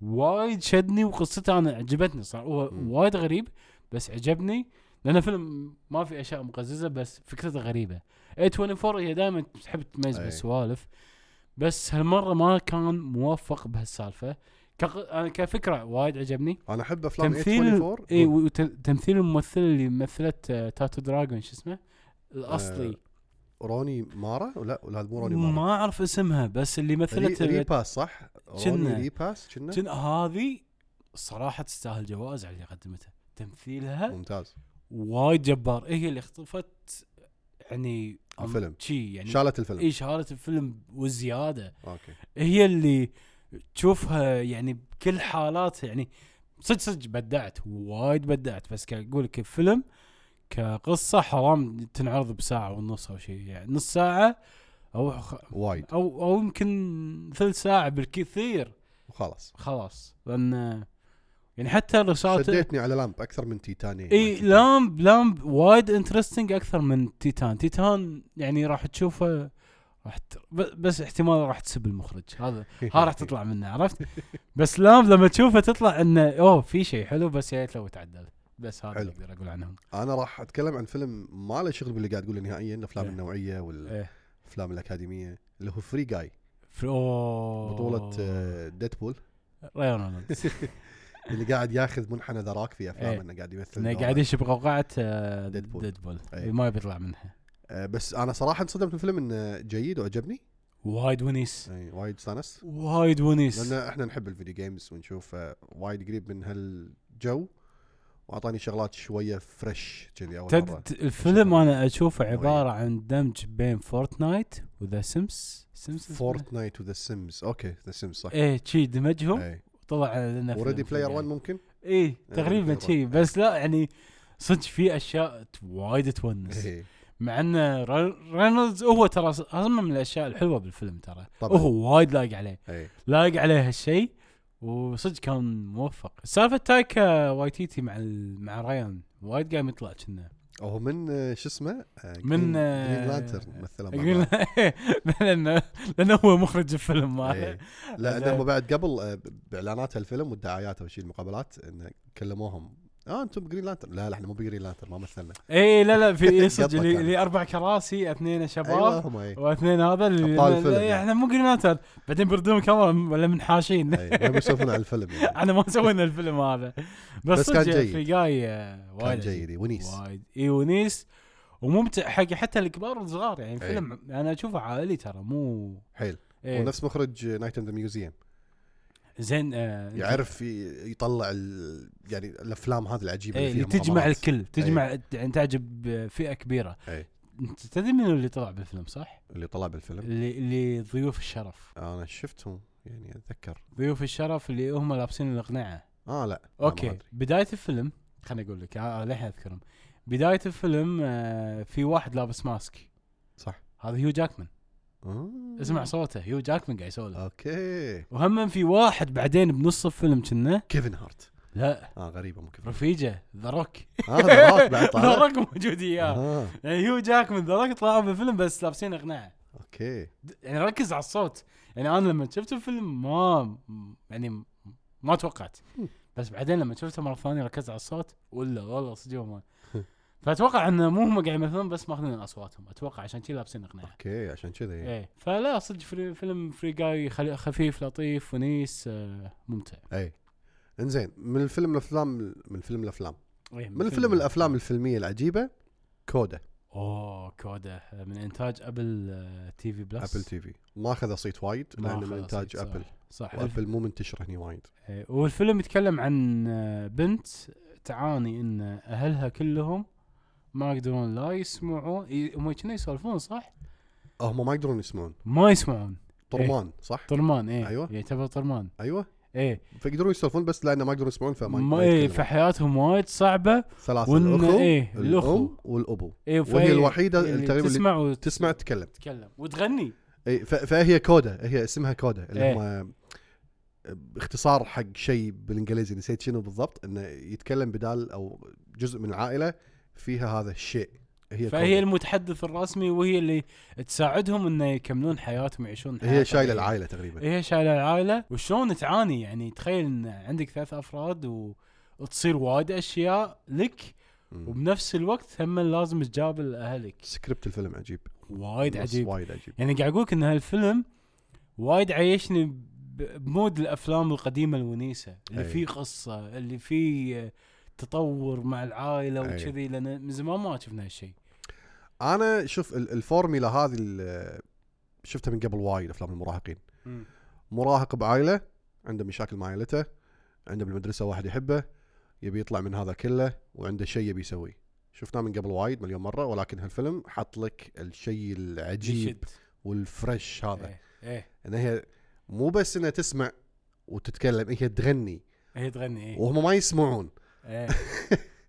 Speaker 1: وايد شدني وقصته انا عجبتني صار هو
Speaker 2: مم.
Speaker 1: وايد غريب بس عجبني لانه فيلم ما في اشياء مقززه بس فكرته غريبه اي 24 هي دائما تحب تميز
Speaker 2: أي.
Speaker 1: بالسوالف بس هالمره ما كان موفق بهالسالفه كق... انا كفكره وايد عجبني إيه،
Speaker 2: انا احب افلام
Speaker 1: تمثيل
Speaker 2: 824
Speaker 1: اي وتمثيل الممثله اللي مثلت آه، تاتو دراجون شو اسمه الاصلي
Speaker 2: آه، روني مارا لا لا مو روني مارا
Speaker 1: ما اعرف اسمها بس اللي مثلت
Speaker 2: ري- ريباس صح؟ روني
Speaker 1: كنا.
Speaker 2: ريباس كنا
Speaker 1: جن هذه صراحه تستاهل جوائز على اللي قدمته تمثيلها
Speaker 2: ممتاز
Speaker 1: وايد جبار هي اللي اختطفت يعني
Speaker 2: الفيلم.
Speaker 1: شي يعني
Speaker 2: شالت الفيلم
Speaker 1: اي شهاره الفيلم وزياده
Speaker 2: اوكي
Speaker 1: هي اللي تشوفها يعني بكل حالات يعني صدق صدق بدعت وايد بدعت بس اقول لك الفيلم كقصه حرام تنعرض بساعه ونص او شيء يعني نص ساعه او خ-
Speaker 2: وايد
Speaker 1: او او يمكن ثلث ساعه بالكثير
Speaker 2: وخلاص
Speaker 1: خلاص لان يعني حتى الرسالة
Speaker 2: شديتني على لامب اكثر من تيتاني
Speaker 1: اي لامب لامب وايد انترستنج اكثر من تيتان تيتان يعني راح تشوفه راح ت- ب- بس احتمال راح تسب المخرج هذا ها راح تطلع منه عرفت بس لامب لما تشوفه تطلع انه اوه في شيء حلو بس يا ريت لو تعدل بس هذا
Speaker 2: حلو.
Speaker 1: اللي اقدر اقول عنهم
Speaker 2: انا راح اتكلم عن فيلم ما له شغل باللي قاعد تقوله نهائيا الافلام
Speaker 1: إيه.
Speaker 2: النوعيه والافلام
Speaker 1: ايه
Speaker 2: الاكاديميه اللي هو فري جاي
Speaker 1: ف- اوه
Speaker 2: بطوله آه، ديدبول
Speaker 1: رايان رونالدز
Speaker 2: اللي قاعد ياخذ منحنى ذراك في
Speaker 1: إيه.
Speaker 2: افلامه انه قاعد يمثل
Speaker 1: إنه
Speaker 2: دور.
Speaker 1: قاعد يشب قوقعه
Speaker 2: ديدبول.
Speaker 1: ديدبول
Speaker 2: إيه.
Speaker 1: ما يبي يطلع منها
Speaker 2: آه، بس انا صراحه انصدمت بالفيلم انه جيد وعجبني
Speaker 1: وايد ونيس
Speaker 2: إي، وايد استانست
Speaker 1: وايد ونيس
Speaker 2: لان احنا نحب الفيديو جيمز ونشوف آه، وايد قريب من هالجو واعطاني شغلات شويه فريش كذي اول مره
Speaker 1: تد... ت- الفيلم انا اشوفه
Speaker 2: نوعية.
Speaker 1: عباره عن دمج بين فورتنايت وذا سيمز سيمز
Speaker 2: فورتنايت إيه. وذا سيمز اوكي ذا سيمز صح
Speaker 1: ايه شي دمجهم
Speaker 2: اي
Speaker 1: طلع لنا
Speaker 2: وريدي بلاير 1 ممكن؟
Speaker 1: ايه
Speaker 2: Player
Speaker 1: تقريبا
Speaker 2: One.
Speaker 1: شي بس لا يعني صدق في اشياء ت- وايد تونس
Speaker 2: إيه،
Speaker 1: مع ان ري- رينولدز هو ترى ص- هم من الاشياء الحلوه بالفيلم ترى
Speaker 2: طبعا
Speaker 1: هو وايد لايق عليه
Speaker 2: اي
Speaker 1: لايق عليه هالشيء وصدق كان موفق سالفه تايكا وايتيتي مع ال... مع رايان وايد قام يطلع كنا
Speaker 2: هو من آه، شو اسمه؟ آه،
Speaker 1: من،
Speaker 2: جرين-
Speaker 1: آه،
Speaker 2: جرين لانترن مثله
Speaker 1: يقول
Speaker 2: مرة.
Speaker 1: لانه لانه هو مخرج الفيلم
Speaker 2: إيه.
Speaker 1: ماله
Speaker 2: لا
Speaker 1: لا.
Speaker 2: لانه بعد قبل آه، ب- باعلانات هالفيلم والدعايات او شيء المقابلات انه كلموهم اه انتم بجرين لانترن لا لا احنا مو بجرين لانترن ما مثلنا
Speaker 1: اي لا لا في إيه صدق
Speaker 2: قطة
Speaker 1: اللي
Speaker 2: كانت.
Speaker 1: اللي اربع كراسي اثنين
Speaker 2: ايوه
Speaker 1: شباب
Speaker 2: هم اي
Speaker 1: واثنين هذا اللي
Speaker 2: أبطال الفيلم
Speaker 1: لا،
Speaker 2: يعني. أيوة.
Speaker 1: احنا مو جريناتر بعدين بيردون كاميرا م- ولا منحاشين
Speaker 2: ما بيسولفون عن الفيلم يعني
Speaker 1: انا ما سوينا الفيلم هذا بس,
Speaker 2: بس كان
Speaker 1: صدق
Speaker 2: جيد.
Speaker 1: في جاي آه،
Speaker 2: كان
Speaker 1: وايد
Speaker 2: جيد ونيس
Speaker 1: وايد اي ونيس وممتع حق حتى الكبار والصغار يعني
Speaker 2: إيه.
Speaker 1: فيلم انا اشوفه عائلي ترى مو
Speaker 2: حيل
Speaker 1: إيه.
Speaker 2: ونفس مخرج نايت ان ذا ميوزيوم
Speaker 1: زين آه
Speaker 2: يعرف ي- يطلع ال... يعني الافلام هذه العجيبه
Speaker 1: ايه اللي
Speaker 2: فيها
Speaker 1: تجمع
Speaker 2: مغامرات.
Speaker 1: الكل تجمع يعني تعجب فئه كبيره
Speaker 2: إيه.
Speaker 1: انت تدري من اللي طلع بالفيلم صح؟
Speaker 2: اللي طلع بالفيلم
Speaker 1: اللي اللي ضيوف الشرف
Speaker 2: انا شفتهم يعني اتذكر
Speaker 1: ضيوف الشرف اللي هم لابسين الاقنعه
Speaker 2: اه لا أنا ما
Speaker 1: اوكي
Speaker 2: أدري.
Speaker 1: بدايه الفيلم خليني اقول لك آه، للحين اذكرهم بدايه الفيلم آه، في واحد لابس ماسك
Speaker 2: صح
Speaker 1: هذا هيو جاكمان
Speaker 2: آه.
Speaker 1: اسمع صوته هيو جاكمان قاعد يسولف
Speaker 2: اوكي
Speaker 1: وهم في واحد بعدين بنص الفيلم كنا
Speaker 2: كيفن هارت
Speaker 1: لا
Speaker 2: اه غريبه مو كيفن
Speaker 1: رفيجه ذا روك
Speaker 2: اه ذا هارت بعد
Speaker 1: ذا
Speaker 2: طالع
Speaker 1: روك موجود اياه
Speaker 2: آه.
Speaker 1: يعني هيو جاكمان ذا روك طلعوا بالفيلم بس لابسين اقنعه
Speaker 2: اوكي
Speaker 1: د- يعني ركز على الصوت يعني انا لما شفت الفيلم ما يعني ما توقعت بس بعدين لما شفته مره ثانيه ركزت على الصوت ولا والله صدق ما فاتوقع انه مو هم قاعد يمثلون بس ماخذين اصواتهم اتوقع عشان كذي لابسين اقنعه
Speaker 2: اوكي عشان يعني. كذي
Speaker 1: ايه فلا صدق فري فيلم فري جاي خلي- خفيف لطيف ونيس آه، ممتع
Speaker 2: اي انزين من الفيلم الافلام من فيلم الافلام
Speaker 1: إيه،
Speaker 2: من الفيلم يعني. الافلام الفيلميه العجيبه كودا
Speaker 1: اوه كودا آه، من انتاج ابل آه، تي في بلس
Speaker 2: ابل تي في ما اخذ صيت وايد
Speaker 1: ما
Speaker 2: لانه من
Speaker 1: أخذ
Speaker 2: انتاج
Speaker 1: صيت، صح.
Speaker 2: ابل
Speaker 1: صح
Speaker 2: وابل مو منتشر هني وايد
Speaker 1: إيه، والفيلم يتكلم عن آه، بنت تعاني ان اهلها كلهم ما يقدرون لا يسمعون ي- هم كنا يسولفون صح؟
Speaker 2: هم ما يقدرون يسمعون
Speaker 1: ما يسمعون
Speaker 2: طرمان صح
Speaker 1: طرمان ايه
Speaker 2: أيوة.
Speaker 1: يعتبر طرمان
Speaker 2: ايوه
Speaker 1: ايه
Speaker 2: فيقدرون يسولفون بس لانه ما يقدرون يسمعون فما
Speaker 1: ما
Speaker 2: ما
Speaker 1: ايه
Speaker 2: يتكلمون.
Speaker 1: فحياتهم وايد صعبه
Speaker 2: ثلاثه
Speaker 1: وإن
Speaker 2: الاخو
Speaker 1: إيه، الأخو.
Speaker 2: الام والابو
Speaker 1: ايه
Speaker 2: وهي
Speaker 1: فهي
Speaker 2: الوحيدة
Speaker 1: اللي
Speaker 2: تقريباً اللي
Speaker 1: تسمع وتتكلم
Speaker 2: تسمع تتكلم
Speaker 1: وتغني
Speaker 2: اي ف- فهي كودا هي اسمها كودا اللي
Speaker 1: إيه.
Speaker 2: هم اختصار حق شيء بالانجليزي نسيت شنو بالضبط انه يتكلم بدال او جزء من العائله فيها هذا الشيء هي
Speaker 1: فهي
Speaker 2: كودا.
Speaker 1: المتحدث الرسمي وهي اللي تساعدهم انه يكملون حياتهم يعيشون حياه
Speaker 2: هي شايله
Speaker 1: طبيعية.
Speaker 2: العائله تقريبا
Speaker 1: هي شايله العائله وشلون تعاني يعني تخيل ان عندك ثلاث افراد وتصير وايد اشياء لك
Speaker 2: مم.
Speaker 1: وبنفس الوقت هم لازم تجابل اهلك
Speaker 2: سكريبت الفيلم عجيب
Speaker 1: وايد
Speaker 2: بس
Speaker 1: عجيب
Speaker 2: وايد عجيب
Speaker 1: يعني قاعد اقول لك ان هالفيلم وايد عيشني ب- بمود الافلام القديمه الونيسه اللي
Speaker 2: أي.
Speaker 1: فيه قصه اللي فيه تطور مع العائله
Speaker 2: أي.
Speaker 1: وكذي لان من زمان ما شفنا هالشيء
Speaker 2: انا شوف ال- الفورميلا هذه ال- شفتها من قبل وايد افلام المراهقين مراهق بعائله عنده مشاكل مع عائلته عنده بالمدرسه واحد يحبه يبي يطلع من هذا كله وعنده شيء يبي يسويه شفناه من قبل وايد مليون مره ولكن هالفيلم حط لك الشيء العجيب
Speaker 1: يشد.
Speaker 2: والفريش هذا
Speaker 1: ايه ايه
Speaker 2: ان هي مو بس انها تسمع وتتكلم هي تغني
Speaker 1: هي تغني ايه
Speaker 2: وهم ما يسمعون
Speaker 1: ايه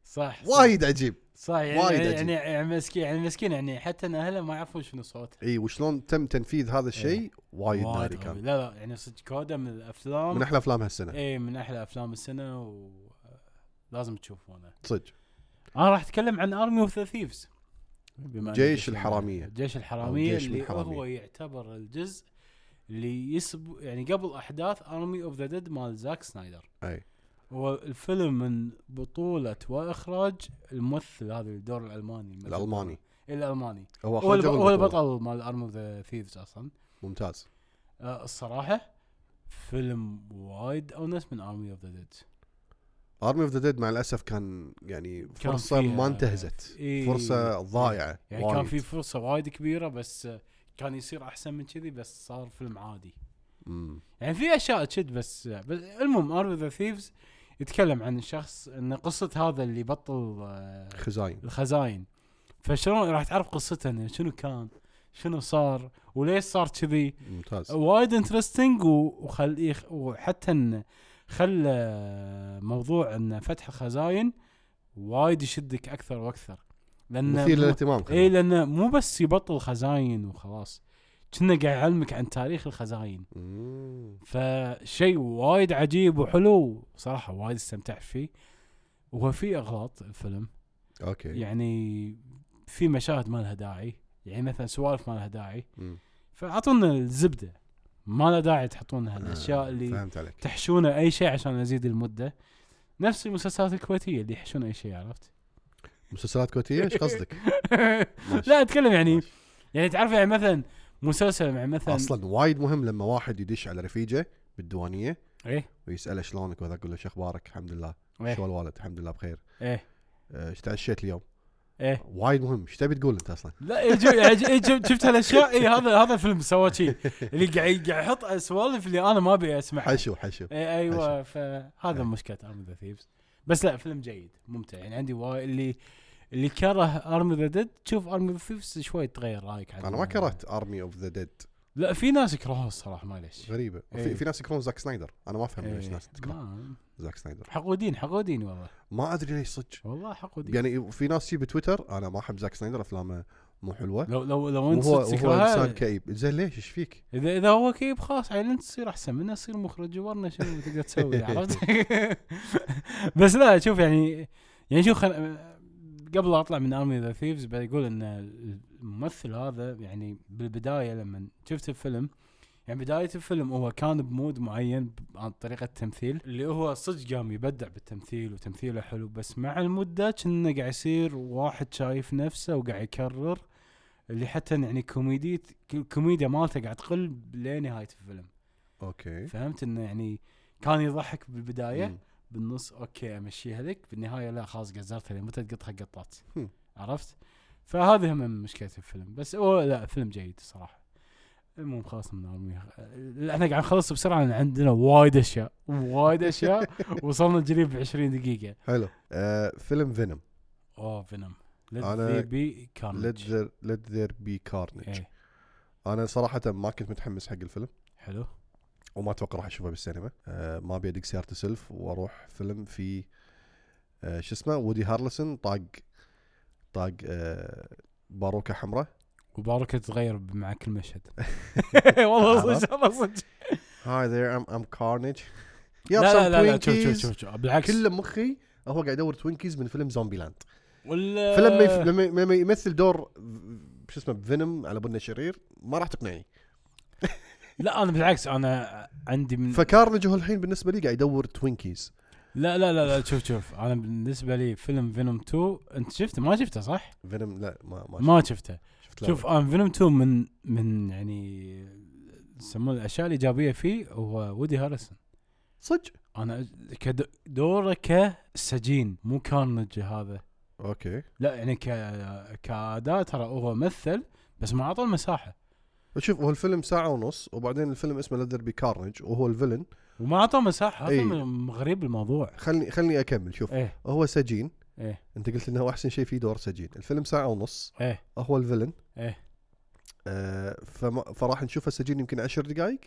Speaker 1: صح صح.
Speaker 2: وايد عجيب
Speaker 1: صح يعني
Speaker 2: وايد عجيب.
Speaker 1: يعني, يعني مسكين يعني مسكين يعني حتى ان اهله ما يعرفون شنو صوته
Speaker 2: اي وشلون تم تنفيذ هذا الشيء وايد ناري
Speaker 1: قوي.
Speaker 2: كان
Speaker 1: لا لا يعني صدق كودا من الافلام
Speaker 2: من احلى افلام هالسنه
Speaker 1: اي من احلى افلام السنه و لازم تشوفونه
Speaker 2: صدق
Speaker 1: انا راح اتكلم عن ارمي اوف ذا ثيفز بما إن
Speaker 2: جيش
Speaker 1: الجيش-
Speaker 2: الحرامية.
Speaker 1: جيش الحراميه
Speaker 2: جيش من
Speaker 1: اللي
Speaker 2: الحرامية.
Speaker 1: هو يعتبر الجزء اللي يسب يعني قبل احداث ارمي اوف ذا ديد مال زاك سنايدر
Speaker 2: اي
Speaker 1: هو الفيلم من بطوله واخراج الممثل هذا الدور الالماني الممثل.
Speaker 2: الالماني
Speaker 1: الالماني
Speaker 2: هو
Speaker 1: هو الب-
Speaker 2: اخرجه
Speaker 1: هو
Speaker 2: بالبطولة.
Speaker 1: البطل مال ارم اوف ذا ثيفز اصلا
Speaker 2: ممتاز
Speaker 1: أه الصراحه فيلم وايد اونس من ارمي اوف ذا ديد
Speaker 2: ارمي اوف ذا ديد مع الاسف كان يعني فرصه
Speaker 1: فيها-
Speaker 2: ما انتهزت
Speaker 1: إيه.
Speaker 2: فرصه ضايعه
Speaker 1: يعني كان في فرصه وايد كبيره بس آه، كان يصير احسن من كذي بس صار فيلم عادي
Speaker 2: مم.
Speaker 1: يعني في اشياء تشد بس, آه، بس المهم ارم اوف ذا ثيفز يتكلم عن الشخص ان قصه هذا اللي بطل آه،
Speaker 2: خزاين
Speaker 1: الخزاين فشلون راح تعرف قصته إنه شنو كان شنو صار وليش صار كذي
Speaker 2: ممتاز
Speaker 1: وايد انترستنج وخل يخ- وحتى ان خلى موضوع ان فتح الخزاين وايد يشدك اكثر واكثر لان
Speaker 2: مثير
Speaker 1: مو- إيه.
Speaker 2: للاهتمام خلينا
Speaker 1: اي لانه مو بس يبطل خزاين وخلاص كنا قاعد يعلمك عن تاريخ الخزاين
Speaker 2: نقول. مم.
Speaker 1: فشيء وايد عجيب وحلو صراحه وايد استمتعت فيه وهو في اغلاط الفيلم
Speaker 2: اوكي
Speaker 1: يعني في مشاهد ما لها داعي يعني مثلا سوالف ما لها داعي
Speaker 2: مم.
Speaker 1: فاعطونا الزبده ما له داعي تحطون
Speaker 2: آه،
Speaker 1: هالاشياء اللي
Speaker 2: فهمت عليك
Speaker 1: تحشونه اي شيء عشان ازيد المده نفس المسلسلات الكويتيه اللي يحشون اي شيء عرفت
Speaker 2: مسلسلات كويتيه ايش قصدك؟ ماشي.
Speaker 1: لا اتكلم يعني
Speaker 2: ماشي.
Speaker 1: يعني تعرف يعني مثلا مسلسل يعني مع مثلا
Speaker 2: اصلا وايد مهم لما واحد يدش على رفيجه بالديوانيه
Speaker 1: ايه
Speaker 2: ويساله شلونك وذا يقول له شو اخبارك الحمد لله
Speaker 1: إيه.
Speaker 2: شو الوالد الحمد لله بخير
Speaker 1: ايه
Speaker 2: آه، ايش تعشيت اليوم؟
Speaker 1: ايه
Speaker 2: وايد مهم ايش تبي تقول انت اصلا؟
Speaker 1: لا إيه، يجي يجي- يجي- شفت هالاشياء اي هذا هذا الفيلم سوى شي اللي قاعد قاعد يحط سوالف اللي انا ما ابي اسمعها
Speaker 2: حشو حشو
Speaker 1: إيه ايوه
Speaker 2: إيه.
Speaker 1: فهذا مشكله ارم ذا ثيفز بس لا فيلم جيد ممتع يعني عندي وايد اللي اللي كره ارم ذا ديد تشوف ارم ذا ثيفز شوي تغير رايك عنه.
Speaker 2: انا ما كرهت ارمي اوف ذا ديد
Speaker 1: لا في ناس يكرهوها الصراحه معليش
Speaker 2: غريبه
Speaker 1: إيه.
Speaker 2: في, في ناس يكرهون زاك سنايدر انا ما افهم ليش
Speaker 1: إيه.
Speaker 2: ناس تكره
Speaker 1: ما-
Speaker 2: زاك سنايدر
Speaker 1: حقودين حقودين والله
Speaker 2: ما ادري ليش صدق
Speaker 1: والله حقودين
Speaker 2: يعني في ناس تجي بتويتر انا ما احب زاك سنايدر افلامه مو حلوه
Speaker 1: لو لو لو انت
Speaker 2: وهو
Speaker 1: صدق
Speaker 2: وهو انسان
Speaker 1: تكرهها
Speaker 2: كئيب زين ليش ايش فيك؟
Speaker 1: اذا اذا هو كيب خلاص عيل انت تصير احسن منه تصير مخرج ورنا شنو تقدر تسوي عرفت؟ بس لا شوف يعني يعني شوف خل... قبل لا اطلع من ارمي ذا ثيفز بقول ان الممثل هذا يعني بالبدايه لما شفت الفيلم يعني بدايه الفيلم هو كان بمود معين ب- عن طريقه التمثيل اللي هو صدق قام يبدع بالتمثيل وتمثيله حلو بس مع المده كنا قاعد يصير واحد شايف نفسه وقاعد يكرر اللي حتى يعني كوميدية الكوميديا مالته قاعد تقل لنهايه الفيلم
Speaker 2: اوكي
Speaker 1: فهمت انه يعني كان يضحك بالبدايه
Speaker 2: إيه. مم.
Speaker 1: بالنص اوكي امشيها لك بالنهايه لا خلاص قزرتها لي متى تقطها قطات
Speaker 2: هم.
Speaker 1: عرفت فهذه هم من مشكله الفيلم بس هو لا فيلم جيد الصراحه المهم خلاص من أرمي. احنا قاعد نخلص بسرعه لأن عندنا وايد اشياء وايد اشياء وصلنا الجليب ب 20 دقيقه
Speaker 2: حلو آه فيلم فينوم
Speaker 1: اوه فينوم ليت
Speaker 2: أنا
Speaker 1: ذي بي
Speaker 2: ليت
Speaker 1: كارنج
Speaker 2: ذير ليت ذير بي
Speaker 1: إيه.
Speaker 2: كارنج انا صراحه ما كنت متحمس حق الفيلم
Speaker 1: حلو
Speaker 2: وما اتوقع راح اشوفه بالسينما آه ما ابي ادق سيارتي سلف واروح فيلم في آه شو اسمه وودي هارلسون طاق طاق آه باروكه حمراء
Speaker 1: وباركة تتغير مع كل مشهد والله صدق والله صدق
Speaker 2: هاي ذير ام ام كارنج
Speaker 1: لا لا لا, لا شوف شوف شوف, شوف. بالعكس
Speaker 2: كل مخي هو قاعد يدور توينكيز من فيلم زومبي لاند
Speaker 1: ولا
Speaker 2: فيلم ما يف- لما لما يمثل دور شو اسمه فينوم على بنا شرير ما راح تقنعني
Speaker 1: لا انا بالعكس انا عندي من
Speaker 2: فكارنج هو الحين بالنسبه لي قاعد يدور توينكيز
Speaker 1: لا لا لا لا شوف شوف انا بالنسبه لي فيلم فينوم 2 انت شفته ما شفته صح؟
Speaker 2: فينوم لا ما ما,
Speaker 1: ما شفته
Speaker 2: شفت
Speaker 1: شوف آه. انا فينوم 2 من من يعني يسمونه الاشياء الايجابيه فيه هو وودي هاريسون
Speaker 2: صدق
Speaker 1: انا كدوره كسجين مو كارنج هذا
Speaker 2: اوكي
Speaker 1: لا يعني ك كاداء ترى هو مثل بس ما اعطى المساحه
Speaker 2: شوف هو الفيلم ساعة ونص وبعدين الفيلم اسمه ليذر بي كارنج وهو الفيلن
Speaker 1: وما اعطاه مساحه هذا
Speaker 2: إي.
Speaker 1: من غريب الموضوع
Speaker 2: خلني خلني اكمل شوف
Speaker 1: ايه
Speaker 2: هو سجين
Speaker 1: إيه.
Speaker 2: انت قلت انه هو احسن شيء فيه دور سجين الفيلم ساعة ونص
Speaker 1: ايه
Speaker 2: هو الفيلن
Speaker 1: إيه.
Speaker 2: آه فما فراح نشوف السجين يمكن عشر دقائق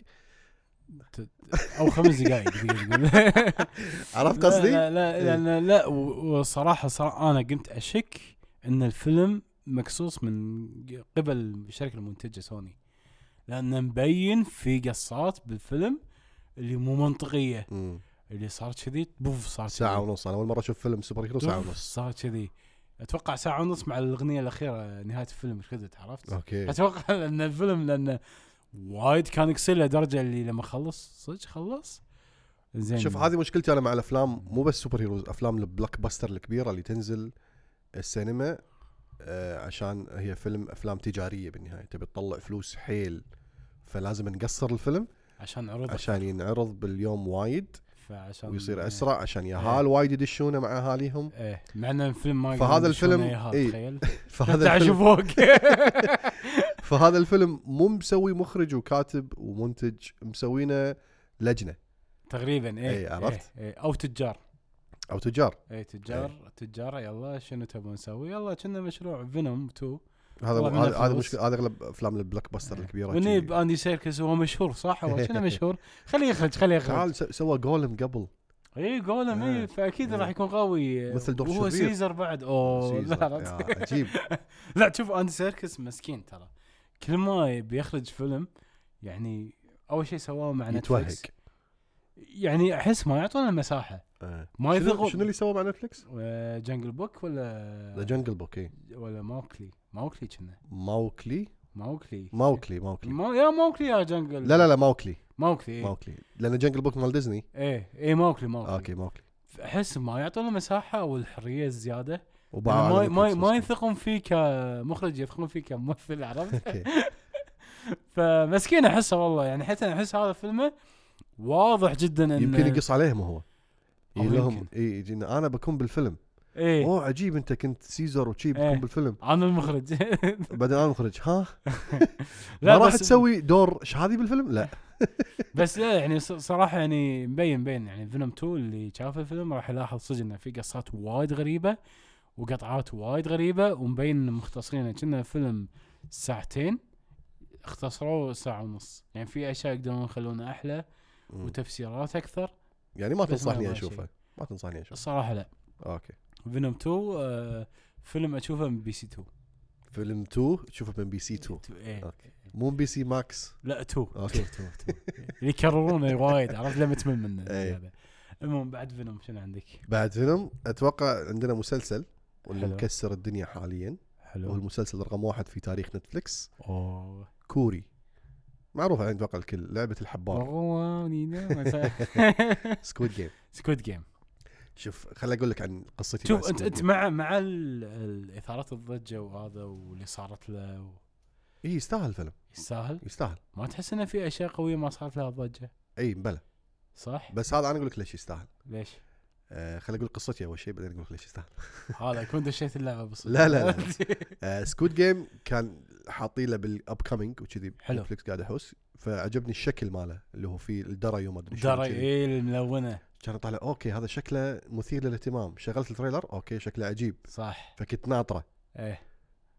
Speaker 1: او خمس دقائق دقيقة.
Speaker 2: عرفت قصدي؟ إيه.
Speaker 1: لا لا لا, لا, لا و- وصراحه صراحه انا قمت اشك ان الفيلم مقصوص من قبل الشركه المنتجه سوني لانه مبين في قصات بالفيلم اللي مو منطقيه
Speaker 2: مم.
Speaker 1: اللي صارت كذي بوف صارت
Speaker 2: ساعة
Speaker 1: كذي.
Speaker 2: ونص انا اول مرة اشوف فيلم سوبر هيرو ساعة
Speaker 1: بوف
Speaker 2: ونص
Speaker 1: صارت كذي اتوقع ساعه ونص مع الاغنيه الاخيره نهايه الفيلم شدت عرفت؟
Speaker 2: اوكي
Speaker 1: اتوقع لان الفيلم لانه وايد كان يكسر لدرجه اللي لما خلص صدق خلص زين
Speaker 2: شوف هذه مشكلتي انا مع الافلام مو بس سوبر هيروز افلام البلوك باستر الكبيرة اللي تنزل السينما آه عشان هي فيلم افلام تجارية بالنهاية تبي تطلع فلوس حيل فلازم نقصر الفيلم
Speaker 1: عشان عروضه
Speaker 2: عشان ينعرض باليوم وايد
Speaker 1: فعشان
Speaker 2: ويصير
Speaker 1: إيه.
Speaker 2: اسرع عشان يهال وايد يدشونه مع اهاليهم
Speaker 1: ايه مع ان الفيلم ما
Speaker 2: فهذا
Speaker 1: يقدرون يشونه
Speaker 2: الفيلم-
Speaker 1: إياها،
Speaker 2: إيه.
Speaker 1: تخيل
Speaker 2: فهذا
Speaker 1: هذا
Speaker 2: الفيلم
Speaker 1: شوف فوق
Speaker 2: فهذا الفيلم مو مسوي مخرج وكاتب ومنتج مسوينه لجنه
Speaker 1: تقريبا ايه
Speaker 2: إيه، عرفت؟ إيه.
Speaker 1: إيه. إيه. او تجار
Speaker 2: او تجار
Speaker 1: اي تجار تجار يلا شنو تبون نسوي يلا كنا مشروع فينوم 2
Speaker 2: هذا
Speaker 1: والله منها
Speaker 2: هذا هذا
Speaker 1: فلوس. إيه.
Speaker 2: مشكله هذا اغلب افلام البلوك باستر الكبيره
Speaker 1: وني
Speaker 2: جي.
Speaker 1: باندي سيركس هو مشهور صح هو كنا مشهور خليه يخرج خليه يخرج إيه،
Speaker 2: تعال س- سوى جولم قبل
Speaker 1: اي جولم
Speaker 2: آه.
Speaker 1: اي فاكيد
Speaker 2: إيه.
Speaker 1: راح يكون قوي
Speaker 2: مثل دور
Speaker 1: وهو
Speaker 2: شرير. يعني.
Speaker 1: سيزر بعد اوه
Speaker 2: سيزر.
Speaker 1: لا
Speaker 2: يا
Speaker 1: لا.
Speaker 2: عجيب
Speaker 1: لا تشوف اندي سيركس مسكين ترى كل ما بيخرج فيلم يعني اول شيء سواه مع
Speaker 2: يتوهق
Speaker 1: نتفلكس يعني احس ما يعطونا المساحه
Speaker 2: آه.
Speaker 1: ما
Speaker 2: شنو-
Speaker 1: يثقوا
Speaker 2: شنو اللي سوى مع نتفلكس؟
Speaker 1: آه، جنجل بوك
Speaker 2: ذا
Speaker 1: ولا
Speaker 2: جنجل بوك إيه.
Speaker 1: ولا ماوكلي ماوكلي كنا
Speaker 2: ماوكلي
Speaker 1: إيه. ماوكلي
Speaker 2: ماوكلي ماوكلي
Speaker 1: ما يا ماوكلي يا جنجل
Speaker 2: لا لا لا ماوكلي
Speaker 1: ماوكلي إيه.
Speaker 2: ماوكلي لان جنجل بوك مال آه، ديزني
Speaker 1: ايه ايه ماوكلي ماوكلي
Speaker 2: اوكي ماوكلي
Speaker 1: احس ما يعطونا مساحه والحريه الزياده
Speaker 2: وباع
Speaker 1: ما
Speaker 2: على
Speaker 1: ما
Speaker 2: نتفلكس
Speaker 1: يعني ما
Speaker 2: مسكين.
Speaker 1: يثقون فيه كمخرج يثقون فيه كممثل عرفت
Speaker 2: اوكي
Speaker 1: فمسكين احسه والله يعني حتى احس هذا فيلمه واضح جدا انه
Speaker 2: يمكن يقص عليهم هو
Speaker 1: أو
Speaker 2: يقول لهم
Speaker 1: يمكن.
Speaker 2: اي يجي إنه انا بكون بالفيلم
Speaker 1: ايه
Speaker 2: اوه عجيب انت كنت سيزر وشي
Speaker 1: إيه.
Speaker 2: بتكون بالفيلم
Speaker 1: انا المخرج
Speaker 2: بعدين انا مخرج ها ما
Speaker 1: لا
Speaker 2: راح
Speaker 1: بس
Speaker 2: تسوي دور شهادي بالفيلم لا
Speaker 1: بس لا يعني ص- صراحه يعني مبين مبين يعني فيلم 2 اللي شاف الفيلم راح يلاحظ صدق انه في قصات وايد غريبه وقطعات وايد غريبه ومبين إن مختصرينه كنا فيلم ساعتين اختصروه ساعه ونص يعني في اشياء يقدرون يخلونه احلى
Speaker 2: مم.
Speaker 1: وتفسيرات اكثر
Speaker 2: يعني ما
Speaker 1: بس ما
Speaker 2: تنصحني
Speaker 1: أبغى
Speaker 2: اشوفه
Speaker 1: شيء.
Speaker 2: ما تنصحني اشوفه
Speaker 1: الصراحه لا
Speaker 2: اوكي
Speaker 1: فينوم 2 آه فيلم اشوفه من بي سي 2
Speaker 2: فيلم 2 تشوفه من بي سي 2
Speaker 1: 2
Speaker 2: أوكي. مو بي سي ماكس
Speaker 1: لا 2
Speaker 2: أوكي.
Speaker 1: 2 2 اللي يكررونه وايد عرفت لما تمل منه
Speaker 2: إيه.
Speaker 1: زيادة. المهم بعد فينوم شنو عندك؟
Speaker 2: بعد فيلم اتوقع عندنا مسلسل واللي
Speaker 1: حلو.
Speaker 2: مكسر الدنيا حاليا هو
Speaker 1: حلو
Speaker 2: المسلسل رقم واحد في تاريخ نتفلكس
Speaker 1: اوه
Speaker 2: كوري معروفه عند اتوقع الكل لعبه الحبار سكويد جيم
Speaker 1: سكويد جيم
Speaker 2: شوف خل اقول لك عن قصتي
Speaker 1: شوف
Speaker 2: مع
Speaker 1: انت
Speaker 2: Squid
Speaker 1: انت
Speaker 2: Game.
Speaker 1: مع مع ال- ال- اثاره الضجه وهذا واللي صارت له و-
Speaker 2: اي إيه، يستاهل الفيلم
Speaker 1: يستاهل
Speaker 2: يستاهل
Speaker 1: ما تحس انه في اشياء قويه ما صارت لها ضجه
Speaker 2: اي بلى
Speaker 1: صح؟
Speaker 2: بس هذا انا اقول لك ليش يستاهل
Speaker 1: ليش؟
Speaker 2: آه خل اقول قصتي اول شيء بعدين اقول لك ليش يستاهل
Speaker 1: هذا كنت دشيت اللعبه بس
Speaker 2: لا، لا، لا. آه سكويد جيم كان حاطين له بالاب كامينج وكذي
Speaker 1: حلو.
Speaker 2: نتفلكس قاعد احوس فعجبني الشكل ماله اللي هو فيه الدرى وما ادري شو
Speaker 1: درى
Speaker 2: كذي.
Speaker 1: ايه الملونه
Speaker 2: كان طالع اوكي هذا شكله مثير للاهتمام شغلت التريلر اوكي شكله عجيب
Speaker 1: صح
Speaker 2: فكنت ناطره
Speaker 1: ايه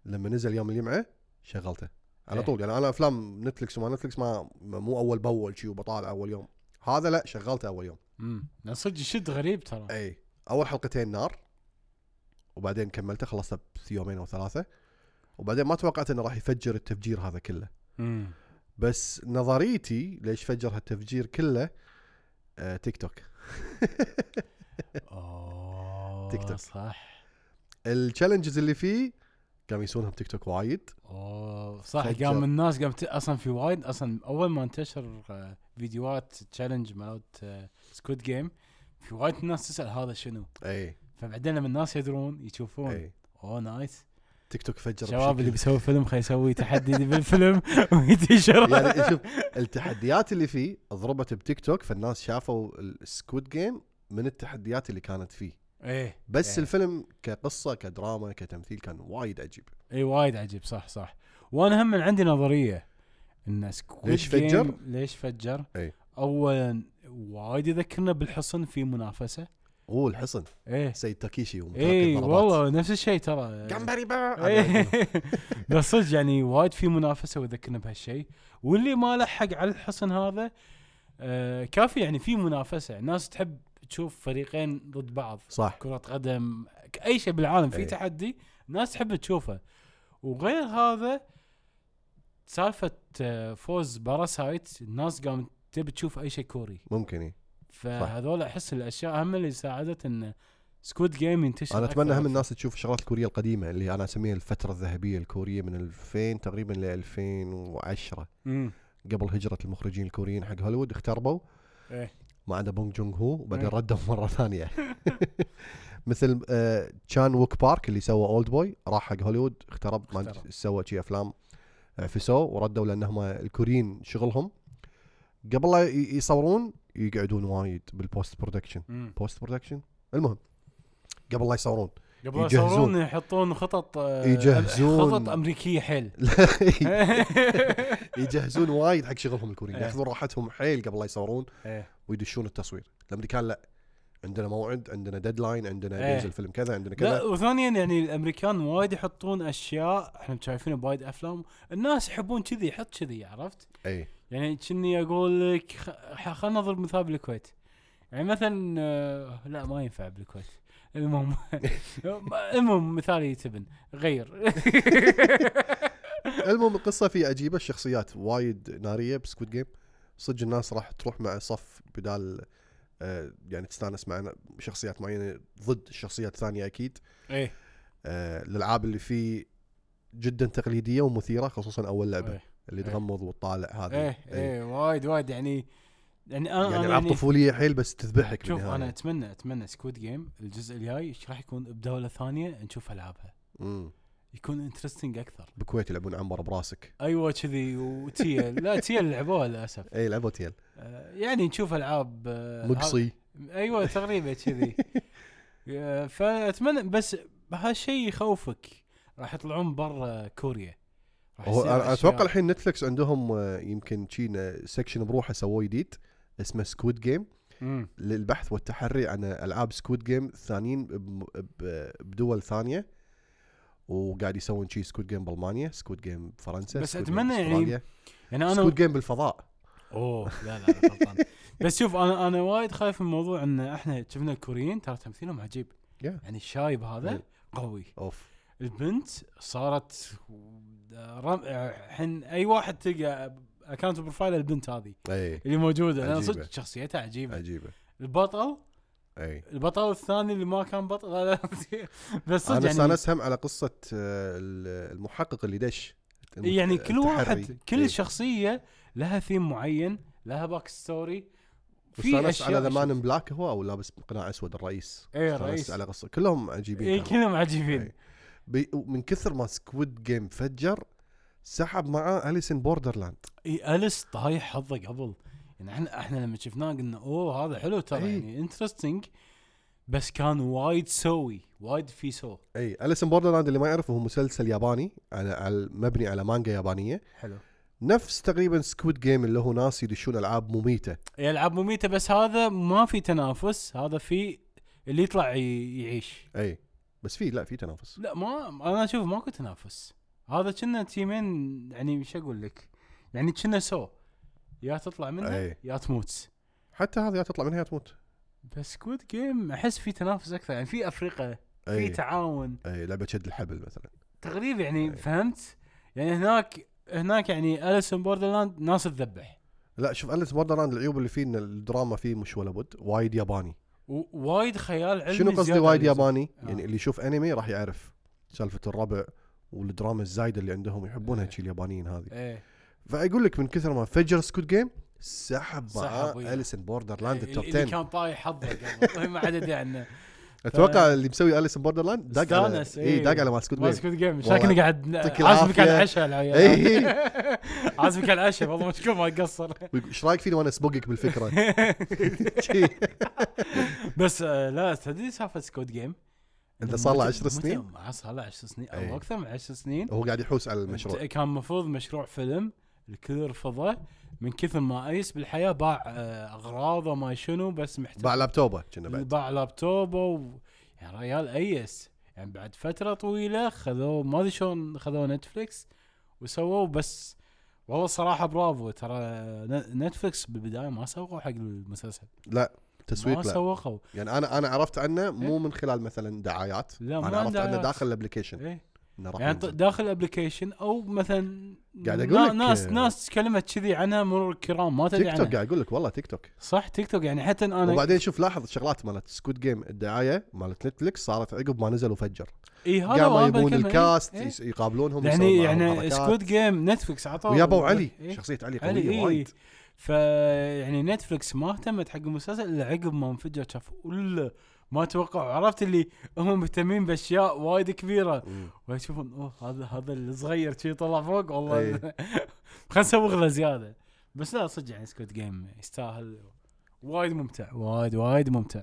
Speaker 2: لما نزل يوم الجمعه شغلته على
Speaker 1: إيه.
Speaker 2: طول يعني انا افلام نتفلكس وما نتفلكس ما مو اول باول شي وبطالع اول يوم هذا لا شغلته اول يوم
Speaker 1: امم لأن صدق شد غريب ترى
Speaker 2: اي اول حلقتين نار وبعدين كملته خلصته بيومين او ثلاثه وبعدين ما توقعت انه راح يفجر التفجير هذا كله
Speaker 1: امم
Speaker 2: بس نظريتي ليش فجر هالتفجير كله آه تيك توك
Speaker 1: اوه
Speaker 2: تيك توك.
Speaker 1: آه، صح
Speaker 2: التشالنجز اللي فيه قام يسوونها بتيك توك وايد
Speaker 1: اوه صح
Speaker 2: فجر.
Speaker 1: قام الناس قامت اصلا في وايد اصلا اول ما انتشر آه، فيديوهات تشالنج مالت سكوت جيم في وايد ناس تسال هذا شنو
Speaker 2: اي
Speaker 1: فبعدين لما الناس يدرون يشوفون
Speaker 2: اي
Speaker 1: اوه نايس
Speaker 2: إيه. تيك توك فجر
Speaker 1: الشباب اللي
Speaker 2: بشكل-
Speaker 1: بيسوي فيلم خي يسوي تحدي بالفيلم وينتشر
Speaker 2: يعني شوف التحديات اللي فيه ضربت بتيك توك فالناس شافوا السكوت جيم من التحديات اللي كانت فيه
Speaker 1: ايه
Speaker 2: بس
Speaker 1: إيه.
Speaker 2: الفيلم كقصه كدراما كتمثيل كان وايد عجيب
Speaker 1: اي وايد عجيب صح صح وانا هم من عندي نظريه ان سكويد
Speaker 2: ليش فجر؟
Speaker 1: جيم- ليش فجر؟
Speaker 2: إي.
Speaker 1: اولا وايد يذكرنا بالحصن في منافسه
Speaker 2: اوه الحصن
Speaker 1: ايه
Speaker 2: سيد تاكيشي ومتلقي
Speaker 1: اي
Speaker 2: الضربات.
Speaker 1: إيه، والله نفس الشيء ترى
Speaker 2: جمبري با
Speaker 1: إيه. بس صدق يعني وايد في منافسه وذكرنا بهالشيء واللي ما لحق على الحصن هذا آه كافي يعني في منافسه الناس تحب تشوف فريقين ضد بعض
Speaker 2: صح
Speaker 1: كرة قدم اي شيء بالعالم في
Speaker 2: إيه.
Speaker 1: تحدي الناس تحب تشوفه وغير هذا سالفة آه، فوز باراسايت الناس قامت تبي تشوف اي شيء كوري
Speaker 2: ممكن إيه.
Speaker 1: فهذول احس الاشياء هم اللي ساعدت ان سكوت جيم ينتشر
Speaker 2: انا
Speaker 1: أكثر
Speaker 2: اتمنى هم
Speaker 1: وأكثر.
Speaker 2: الناس تشوف الشغلات الكوريه القديمه اللي انا اسميها الفتره الذهبيه الكوريه من 2000 تقريبا ل 2010
Speaker 1: مم.
Speaker 2: قبل هجره المخرجين الكوريين حق هوليوود اختربوا
Speaker 1: إيه.
Speaker 2: ما عدا بونج جونغ هو وبعدين
Speaker 1: إيه.
Speaker 2: ردوا مره ثانيه مثل آه، تشان ووك بارك اللي سوى اولد بوي راح حق هوليوود اخترب ما
Speaker 1: اخترب.
Speaker 2: أدري سوى شي افلام عفسوا وردوا لانهم الكوريين شغلهم قبل لا ي- يصورون يقعدون وايد بالبوست برودكشن
Speaker 1: مم.
Speaker 2: بوست برودكشن المهم قبل لا يصورون
Speaker 1: قبل لا
Speaker 2: يجهزون.
Speaker 1: يصورون يحطون خطط آه،
Speaker 2: يجهزون.
Speaker 1: خطط امريكيه حيل
Speaker 2: لا، يجهزون وايد حق شغلهم الكوريين
Speaker 1: إيه.
Speaker 2: ياخذون راحتهم حيل قبل لا يصورون
Speaker 1: إيه.
Speaker 2: ويدشون التصوير الامريكان لا عندنا موعد عندنا ديدلاين عندنا
Speaker 1: إيه.
Speaker 2: بينزل فيلم كذا عندنا
Speaker 1: لا
Speaker 2: كذا
Speaker 1: وثانيا يعني الامريكان وايد يحطون اشياء احنا شايفينها بوايد افلام الناس يحبون كذي يحط كذي عرفت؟
Speaker 2: اي
Speaker 1: يعني كني اقول لك خ- خلنا نضرب مثال بالكويت يعني مثلا آه، لا ما ينفع بالكويت المهم المهم مثالي يتبن غير
Speaker 2: المهم القصه في عجيبه الشخصيات وايد ناريه بسكوت جيم صدق الناس راح تروح مع صف بدال آه، يعني تستانس مع شخصيات معينه ضد الشخصيات الثانيه اكيد
Speaker 1: ايه
Speaker 2: آه، الالعاب اللي فيه جدا تقليديه ومثيره خصوصا اول لعبه
Speaker 1: إيه.
Speaker 2: اللي
Speaker 1: إيه.
Speaker 2: تغمض وتطالع هذه
Speaker 1: ايه
Speaker 2: إيه.
Speaker 1: ايه وايد وايد يعني يعني انا
Speaker 2: يعني
Speaker 1: أنا
Speaker 2: العاب طفوليه حيل بس تذبحك
Speaker 1: شوف
Speaker 2: بالنهاية.
Speaker 1: انا اتمنى اتمنى سكوت جيم الجزء الجاي ايش راح يكون بدوله ثانيه نشوف العابها
Speaker 2: امم
Speaker 1: يكون انترستنج اكثر
Speaker 2: بالكويت يلعبون عنبر براسك
Speaker 1: ايوه كذي وتيا لا تيا اللي لعبوها للاسف
Speaker 2: اي إيه، لعبوا تيل
Speaker 1: آه، يعني نشوف العاب آه،
Speaker 2: مقصي
Speaker 1: ها- ايوه تقريبا كذي آه، فاتمنى بس هالشيء يخوفك راح يطلعون برا كوريا راح
Speaker 2: هو
Speaker 1: يصير
Speaker 2: أنا
Speaker 1: أشياء-
Speaker 2: اتوقع الحين نتفلكس عندهم آه، يمكن شي سكشن بروحه سووه جديد اسمه سكويد جيم
Speaker 1: مم.
Speaker 2: للبحث والتحري عن العاب سكويد جيم ثانيين بم- ب- بدول ثانيه وقاعد يسوون شي سكويد جيم بالمانيا سكويد جيم بفرنسا
Speaker 1: بس
Speaker 2: سكويد
Speaker 1: أتمنى يعني يعني انا
Speaker 2: سكويد جيم بالفضاء
Speaker 1: اوه لا لا لا، غلطان بس شوف انا انا وايد خايف من موضوع ان احنا شفنا الكوريين ترى تمثيلهم عجيب
Speaker 2: Yeah.
Speaker 1: يعني الشايب هذا قوي
Speaker 2: اوف
Speaker 1: البنت صارت رم... الحين اي واحد تلقى اكونت بروفايل البنت هذه
Speaker 2: اي
Speaker 1: اللي موجوده لان
Speaker 2: عجيبة.
Speaker 1: صدق شخصيتها عجيبه
Speaker 2: عجيبه
Speaker 1: البطل
Speaker 2: اي
Speaker 1: البطل الثاني اللي ما كان بطل لا لا بس صدق
Speaker 2: انا
Speaker 1: يعني
Speaker 2: استانست هم على قصه آه، ال- المحقق اللي دش إيه. الم-
Speaker 1: يعني كل
Speaker 2: التحري.
Speaker 1: واحد كل
Speaker 2: إي.
Speaker 1: شخصيه لها ثيم معين لها باك ستوري
Speaker 2: استانست على ذا مان بلاك هو او لابس قناع اسود الرئيس
Speaker 1: إي،
Speaker 2: استانست
Speaker 1: إيه، الرئيس.
Speaker 2: على قصه كلهم عجيبين
Speaker 1: اي
Speaker 2: كانوا.
Speaker 1: إيه، كلهم عجيبين
Speaker 2: إي. بي... من كثر ما سكويد جيم فجر سحب معاه اليسن بوردرلاند
Speaker 1: اي اليس طايح حظه قبل يعني احنا احنا لما شفناه قلنا اوه هذا حلو ترى
Speaker 2: إي.
Speaker 1: يعني انترستنج بس كان وايد سوي وايد في سو
Speaker 2: اي اليسن بوردرلاند اللي ما يعرفه هو مسلسل ياباني على على- مبني على مانجا يابانيه
Speaker 1: حلو
Speaker 2: نفس تقريبا سكويد جيم اللي هو ناس يدشون العاب مميته
Speaker 1: يلعب مميته بس هذا ما في تنافس هذا في اللي يطلع ي- يعيش
Speaker 2: اي إيه، بس في لا في تنافس
Speaker 1: لا ما انا اشوف ماكو تنافس هذا كنا تيمين يعني شو اقول لك يعني كنا سو يا تطلع منه
Speaker 2: اي
Speaker 1: يا تموت
Speaker 2: حتى هذا يا تطلع منها يا تموت
Speaker 1: بس سكويد جيم احس في تنافس اكثر يعني في افريقيا في
Speaker 2: اي
Speaker 1: تعاون
Speaker 2: اي لعبه إيه، شد الحبل مثلا
Speaker 1: تقريبا
Speaker 2: إيه.
Speaker 1: يعني فهمت يعني هناك هناك يعني اليسون بوردرلاند ناس تذبح
Speaker 2: لا شوف اليس بوردرلاند العيوب اللي فيه ان الدراما فيه مش ولا بد وايد ياباني
Speaker 1: ووايد خيال علمي
Speaker 2: شنو قصدي
Speaker 1: زيادة
Speaker 2: وايد
Speaker 1: عن اللزوم.
Speaker 2: ياباني؟
Speaker 1: آه.
Speaker 2: يعني اللي يشوف انمي راح يعرف سالفه الربع والدراما الزايده اللي عندهم يحبونها
Speaker 1: إيه.
Speaker 2: شي اليابانيين هذه
Speaker 1: ايه
Speaker 2: فاقول لك من كثر ما فجر سكوت جيم سحب
Speaker 1: سحب
Speaker 2: معاه
Speaker 1: وياه.
Speaker 2: اليسن بوردرلاند
Speaker 1: إيه،
Speaker 2: التوب
Speaker 1: اللي
Speaker 2: 10
Speaker 1: كان طايح حظه قبل طيب ما عاد يدري عنه
Speaker 2: اتوقع اللي مسوي اليسن بوردرلاند داق على
Speaker 1: آه. استانس،
Speaker 2: اي
Speaker 1: إيه.
Speaker 2: داق على مال سكوت
Speaker 1: ما
Speaker 2: جيم
Speaker 1: سكوت جيم
Speaker 2: والله.
Speaker 1: شكله قاعد
Speaker 2: يعطيك
Speaker 1: عازمك على
Speaker 2: العافية.
Speaker 1: العشاء العيال
Speaker 2: إيه.
Speaker 1: عازمك على العشاء والله مشكور ما قصر
Speaker 2: ويقول، ايش رايك فيني وانا اسبقك بالفكره؟ شي.
Speaker 1: بس آه، لا تدري سالفه سكوت جيم
Speaker 2: إنت صار له عشر سنين؟
Speaker 1: صار له 10 سنين او
Speaker 2: إيه.
Speaker 1: اكثر من 10 سنين
Speaker 2: هو قاعد يحوس على المشروع
Speaker 1: كان المفروض مشروع فيلم الكل رفضه من كثر ما ايس بالحياه باع آه، اغراضه ما شنو بس محتاج
Speaker 2: باع لابتوبه كنا بعد
Speaker 1: باع لابتوبه و... يعني ريال ايس يعني بعد فتره طويله خذوه ما ادري شلون خذوه نتفلكس وسووه بس والله صراحه برافو ترى ن- نتفلكس بالبدايه ما سوقوا حق المسلسل
Speaker 2: لا
Speaker 1: ما
Speaker 2: تسويق لا
Speaker 1: سوقوا
Speaker 2: يعني انا انا عرفت عنه مو من خلال مثلا دعايات
Speaker 1: إيه؟ لا، ما
Speaker 2: انا عرفت عنه
Speaker 1: دعايات.
Speaker 2: داخل الابلكيشن
Speaker 1: ايه
Speaker 2: انه راح
Speaker 1: يعني ط-
Speaker 2: ينزل.
Speaker 1: داخل الابلكيشن او مثلا
Speaker 2: قاعد أقول
Speaker 1: نا-
Speaker 2: لك،
Speaker 1: ناس
Speaker 2: آه،
Speaker 1: ناس تكلمت كذي عنها مرور الكرام ما تدري
Speaker 2: تيك توك
Speaker 1: عنها
Speaker 2: قاعد اقول لك والله تيك توك
Speaker 1: صح تيك توك يعني حتى انا
Speaker 2: وبعدين شوف لاحظ شغلات مالت سكوت جيم الدعايه مالت نتفلكس صارت عقب ما نزل وفجر
Speaker 1: اي إيه، هذا
Speaker 2: قاموا
Speaker 1: وهذا
Speaker 2: يبون
Speaker 1: الكلمة،
Speaker 2: الكاست
Speaker 1: إيه.
Speaker 2: يس- يقابلونهم
Speaker 1: يعني
Speaker 2: يسوون معاهم
Speaker 1: يعني
Speaker 2: حركات.
Speaker 1: سكوت جيم نتفلكس عطاه
Speaker 2: ويا ابو علي
Speaker 1: إيه.
Speaker 2: شخصيه علي
Speaker 1: علي
Speaker 2: قويه
Speaker 1: إيه.
Speaker 2: وايد
Speaker 1: ف يعني نتفلكس ما اهتمت حق المسلسل الا عقب ما انفجر شاف ولا ما توقعوا عرفت اللي هم مهتمين باشياء وايد كبيره
Speaker 2: مم.
Speaker 1: ويشوفون اوه هذا هذا الصغير شي طلع فوق والله
Speaker 2: إيه.
Speaker 1: خلينا نسوي غله زياده بس لا صدق يعني سكوت جيم يستاهل وايد ممتع وايد وايد ممتع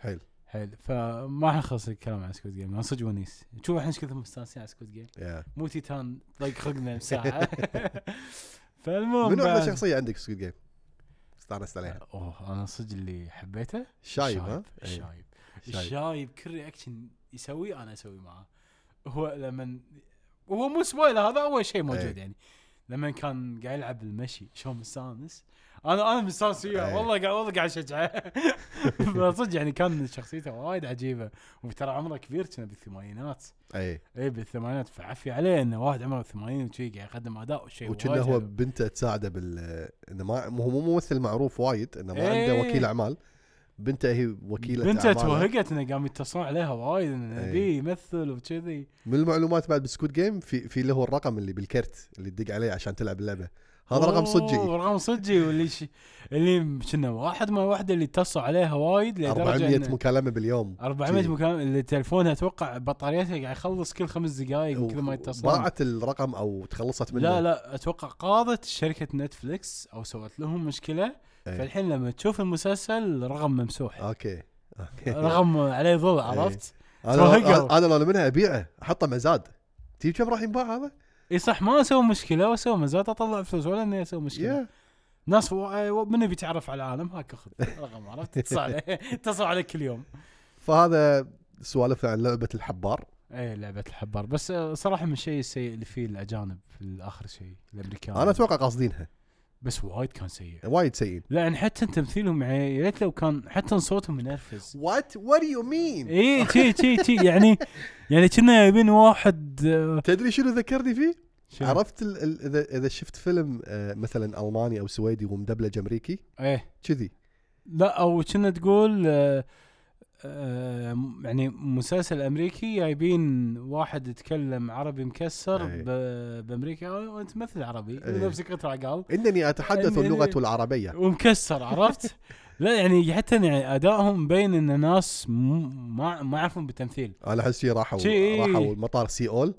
Speaker 2: حلو
Speaker 1: حلو فما حنخلص الكلام عن سكوت جيم انا صدق ونيس شوف احنا ايش كثر مستانسين على سكوت جيم
Speaker 2: يا.
Speaker 1: مو تيتان ضيق خلقنا بساعه فالمهم
Speaker 2: منو
Speaker 1: بعد-
Speaker 2: احلى شخصيه عندك سكوت جيم؟ استانست عليها
Speaker 1: اوه انا صدق اللي حبيته
Speaker 2: شايب ها؟ إيه.
Speaker 1: الشايب
Speaker 2: شايب.
Speaker 1: الشايب كل رياكشن يسويه انا اسوي معاه هو لما هو مو سبويلر هذا اول شيء موجود
Speaker 2: إيه.
Speaker 1: يعني لما كان قاعد يلعب بالمشي شلون مستانس انا انا مستانس وياه
Speaker 2: إيه.
Speaker 1: والله قاعد والله قاعد اشجعه فصدق يعني كان شخصيته وايد عجيبه وترى عمره كبير كنا بالثمانينات
Speaker 2: اي
Speaker 1: اي بالثمانينات فعافية عليه انه واحد عمره 80 وشي قاعد يقدم اداء وشيء
Speaker 2: وكنا
Speaker 1: وايد
Speaker 2: هو
Speaker 1: حلو.
Speaker 2: بنته تساعده بال انه ما هو مو ممثل معروف وايد انه ما
Speaker 1: إيه.
Speaker 2: عنده وكيل اعمال بنته هي وكيله
Speaker 1: بنته
Speaker 2: أعماله.
Speaker 1: توهقت انه قام يتصلون عليها وايد انه
Speaker 2: إيه.
Speaker 1: بي يمثل وكذي
Speaker 2: من المعلومات بعد بسكوت جيم في في اللي هو الرقم اللي بالكرت اللي تدق عليه عشان تلعب اللعبه هذا رقم صجي
Speaker 1: أوه، رقم صجي واللي ش... اللي كنا واحد ما واحده اللي اتصلوا عليها وايد لدرجه
Speaker 2: 400
Speaker 1: يعني إنه-
Speaker 2: مكالمه باليوم
Speaker 1: 400
Speaker 2: شي.
Speaker 1: مكان اللي تلفونها اتوقع بطاريتها قاعد يخلص كل خمس دقائق من كثر ما يتصلون
Speaker 2: باعت الرقم او تخلصت منه
Speaker 1: لا لا اتوقع قاضت شركه نتفلكس او سوت لهم مشكله
Speaker 2: إيه. آه،
Speaker 1: فالحين لما تشوف المسلسل رقم ممسوح
Speaker 2: اوكي
Speaker 1: رقم عليه ظل
Speaker 2: إيه.
Speaker 1: عرفت؟
Speaker 2: انا
Speaker 1: ترهقوا.
Speaker 2: انا لو منها ابيعه احطه مزاد تجيب كم راح ينباع هذا؟
Speaker 1: اي صح ما اسوي مشكله واسوي مزاد اطلع فلوس ولا اني اسوي مشكله
Speaker 2: يا
Speaker 1: ناس و... و- من يبي يتعرف على العالم هاك اخذ رقم عرفت؟ اتصل عليه اتصل عليك كل يوم
Speaker 2: فهذا سوالفنا عن لعبه الحبار
Speaker 1: اي لعبه الحبار بس آه، صراحه من الشيء السيء اللي فيه الاجانب في اخر شيء الامريكان
Speaker 2: انا اتوقع قاصدينها
Speaker 1: بس وايد كان سيء
Speaker 2: وايد سيئين
Speaker 1: لان حتى تمثيلهم يع- يا ريت لو كان حتى صوتهم منرفز
Speaker 2: وات وات يو مين
Speaker 1: اي تي تي تي يعني يعني كنا يبين واحد آه،
Speaker 2: تدري شنو ذكرني فيه؟
Speaker 1: شنو؟
Speaker 2: عرفت ال- ال- اذا اذا شفت فيلم آه، مثلا الماني او سويدي ومدبلج امريكي
Speaker 1: ايه
Speaker 2: كذي
Speaker 1: لا او كنا تقول آه، آه، يعني مسلسل امريكي جايبين واحد يتكلم عربي مكسر
Speaker 2: إيه.
Speaker 1: ب- بامريكا آه، وانت مثل عربي
Speaker 2: إيه.
Speaker 1: نفسك اطلع قال
Speaker 2: انني اتحدث
Speaker 1: إنني-
Speaker 2: اللغه العربيه
Speaker 1: ومكسر عرفت؟ لا يعني حتى يعني ادائهم بين ان ناس م- ما ما يعرفون بالتمثيل
Speaker 2: انا احس شي راحوا
Speaker 1: شي.
Speaker 2: راحوا مطار سي اول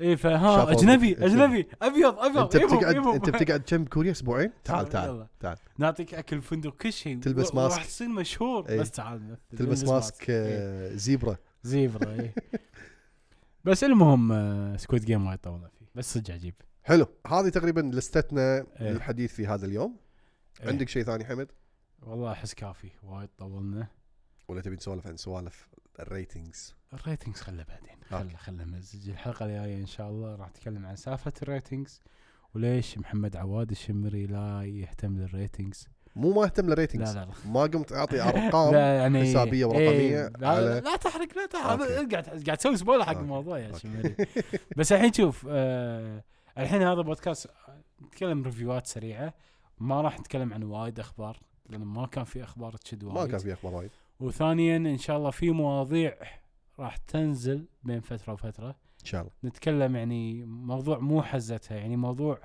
Speaker 1: اي إيه، فها
Speaker 2: شافوا
Speaker 1: اجنبي
Speaker 2: أمريكا.
Speaker 1: اجنبي ابيض ابيض
Speaker 2: انت
Speaker 1: إيبهم،
Speaker 2: بتقعد
Speaker 1: إيبهم.
Speaker 2: انت بتقعد كم كوريا اسبوعين تعال
Speaker 1: إيوه، تعال، يلا.
Speaker 2: تعال تعال
Speaker 1: نعطيك اكل فندق كل شيء
Speaker 2: تلبس
Speaker 1: و- وراح
Speaker 2: ماسك.
Speaker 1: تصير مشهور
Speaker 2: إيه.
Speaker 1: بس تعال
Speaker 2: تلبس ماسك
Speaker 1: إيه.
Speaker 2: آه، زيبرا
Speaker 1: زيبرا إيه. بس المهم آه، سكويد جيم ما يطولنا فيه بس صدق عجيب
Speaker 2: حلو هذه تقريبا لستنا
Speaker 1: إيه.
Speaker 2: للحديث في هذا اليوم
Speaker 1: إيه.
Speaker 2: عندك شيء ثاني حمد
Speaker 1: والله احس كافي وايد طولنا
Speaker 2: ولا تبي نسولف عن سوالف الريتنجز
Speaker 1: الريتنجز خله بعدين خله
Speaker 2: أوكي.
Speaker 1: خله مزج الحلقه الجايه ان شاء الله راح نتكلم عن سالفه الريتنجز وليش محمد عواد الشمري لا يهتم للريتنجز
Speaker 2: مو ما اهتم
Speaker 1: لا
Speaker 2: للريتنجز
Speaker 1: لا لا
Speaker 2: ما قمت اعطي ارقام
Speaker 1: لا يعني
Speaker 2: حسابية ورقمية
Speaker 1: إيه لا,
Speaker 2: على-
Speaker 1: لا تحرق لا تحرق
Speaker 2: أوكي.
Speaker 1: قاعد قاعد تسوي سبويلر حق
Speaker 2: أوكي.
Speaker 1: الموضوع يا
Speaker 2: أوكي.
Speaker 1: شمالي بس الحين شوف آه الحين هذا بودكاست نتكلم ريفيوات سريعه ما راح نتكلم عن وايد اخبار لان ما كان في اخبار تشد وايد
Speaker 2: ما كان في اخبار وايد
Speaker 1: وثانيا ان شاء الله في مواضيع راح تنزل بين فتره وفتره
Speaker 2: ان شاء الله
Speaker 1: نتكلم يعني موضوع مو حزتها يعني موضوع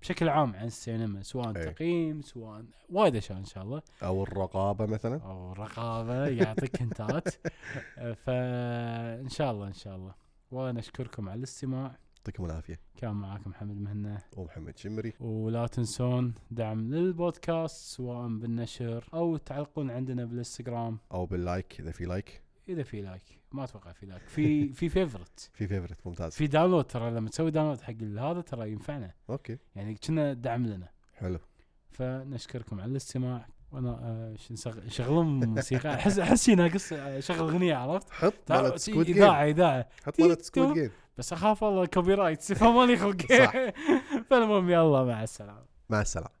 Speaker 1: بشكل عام عن السينما سواء
Speaker 2: إيه.
Speaker 1: تقييم سواء وايد اشياء ان شاء الله
Speaker 2: او الرقابه مثلا
Speaker 1: او رقابه يعطيك هنتات فان شاء الله ان شاء الله وانا اشكركم على الاستماع
Speaker 2: يعطيكم العافيه
Speaker 1: كان معاكم محمد مهنا
Speaker 2: ومحمد شمري
Speaker 1: ولا تنسون دعم للبودكاست سواء بالنشر او تعلقون عندنا بالانستغرام
Speaker 2: او باللايك اذا في لايك
Speaker 1: اذا في لايك ما اتوقع في لايك في في فيفرت
Speaker 2: في فيفرت ممتاز
Speaker 1: في داونلود ترى لما تسوي داونلود حق هذا ترى ينفعنا
Speaker 2: اوكي
Speaker 1: يعني كنا دعم لنا
Speaker 2: حلو
Speaker 1: فنشكركم على الاستماع وانا آه، ش- نشغل- شغلون موسيقى احس احس شي ناقص آه، شغل اغنيه عرفت؟
Speaker 2: حط
Speaker 1: تعال-
Speaker 2: مالت
Speaker 1: شي
Speaker 2: سكويد جيم
Speaker 1: اذاعه اذاعه
Speaker 2: حط مالت سكويد جيم
Speaker 1: بس اخاف والله كوبي رايت فمالي خلق
Speaker 2: صح.
Speaker 1: فالمهم يلا مع السلامه
Speaker 2: مع السلامه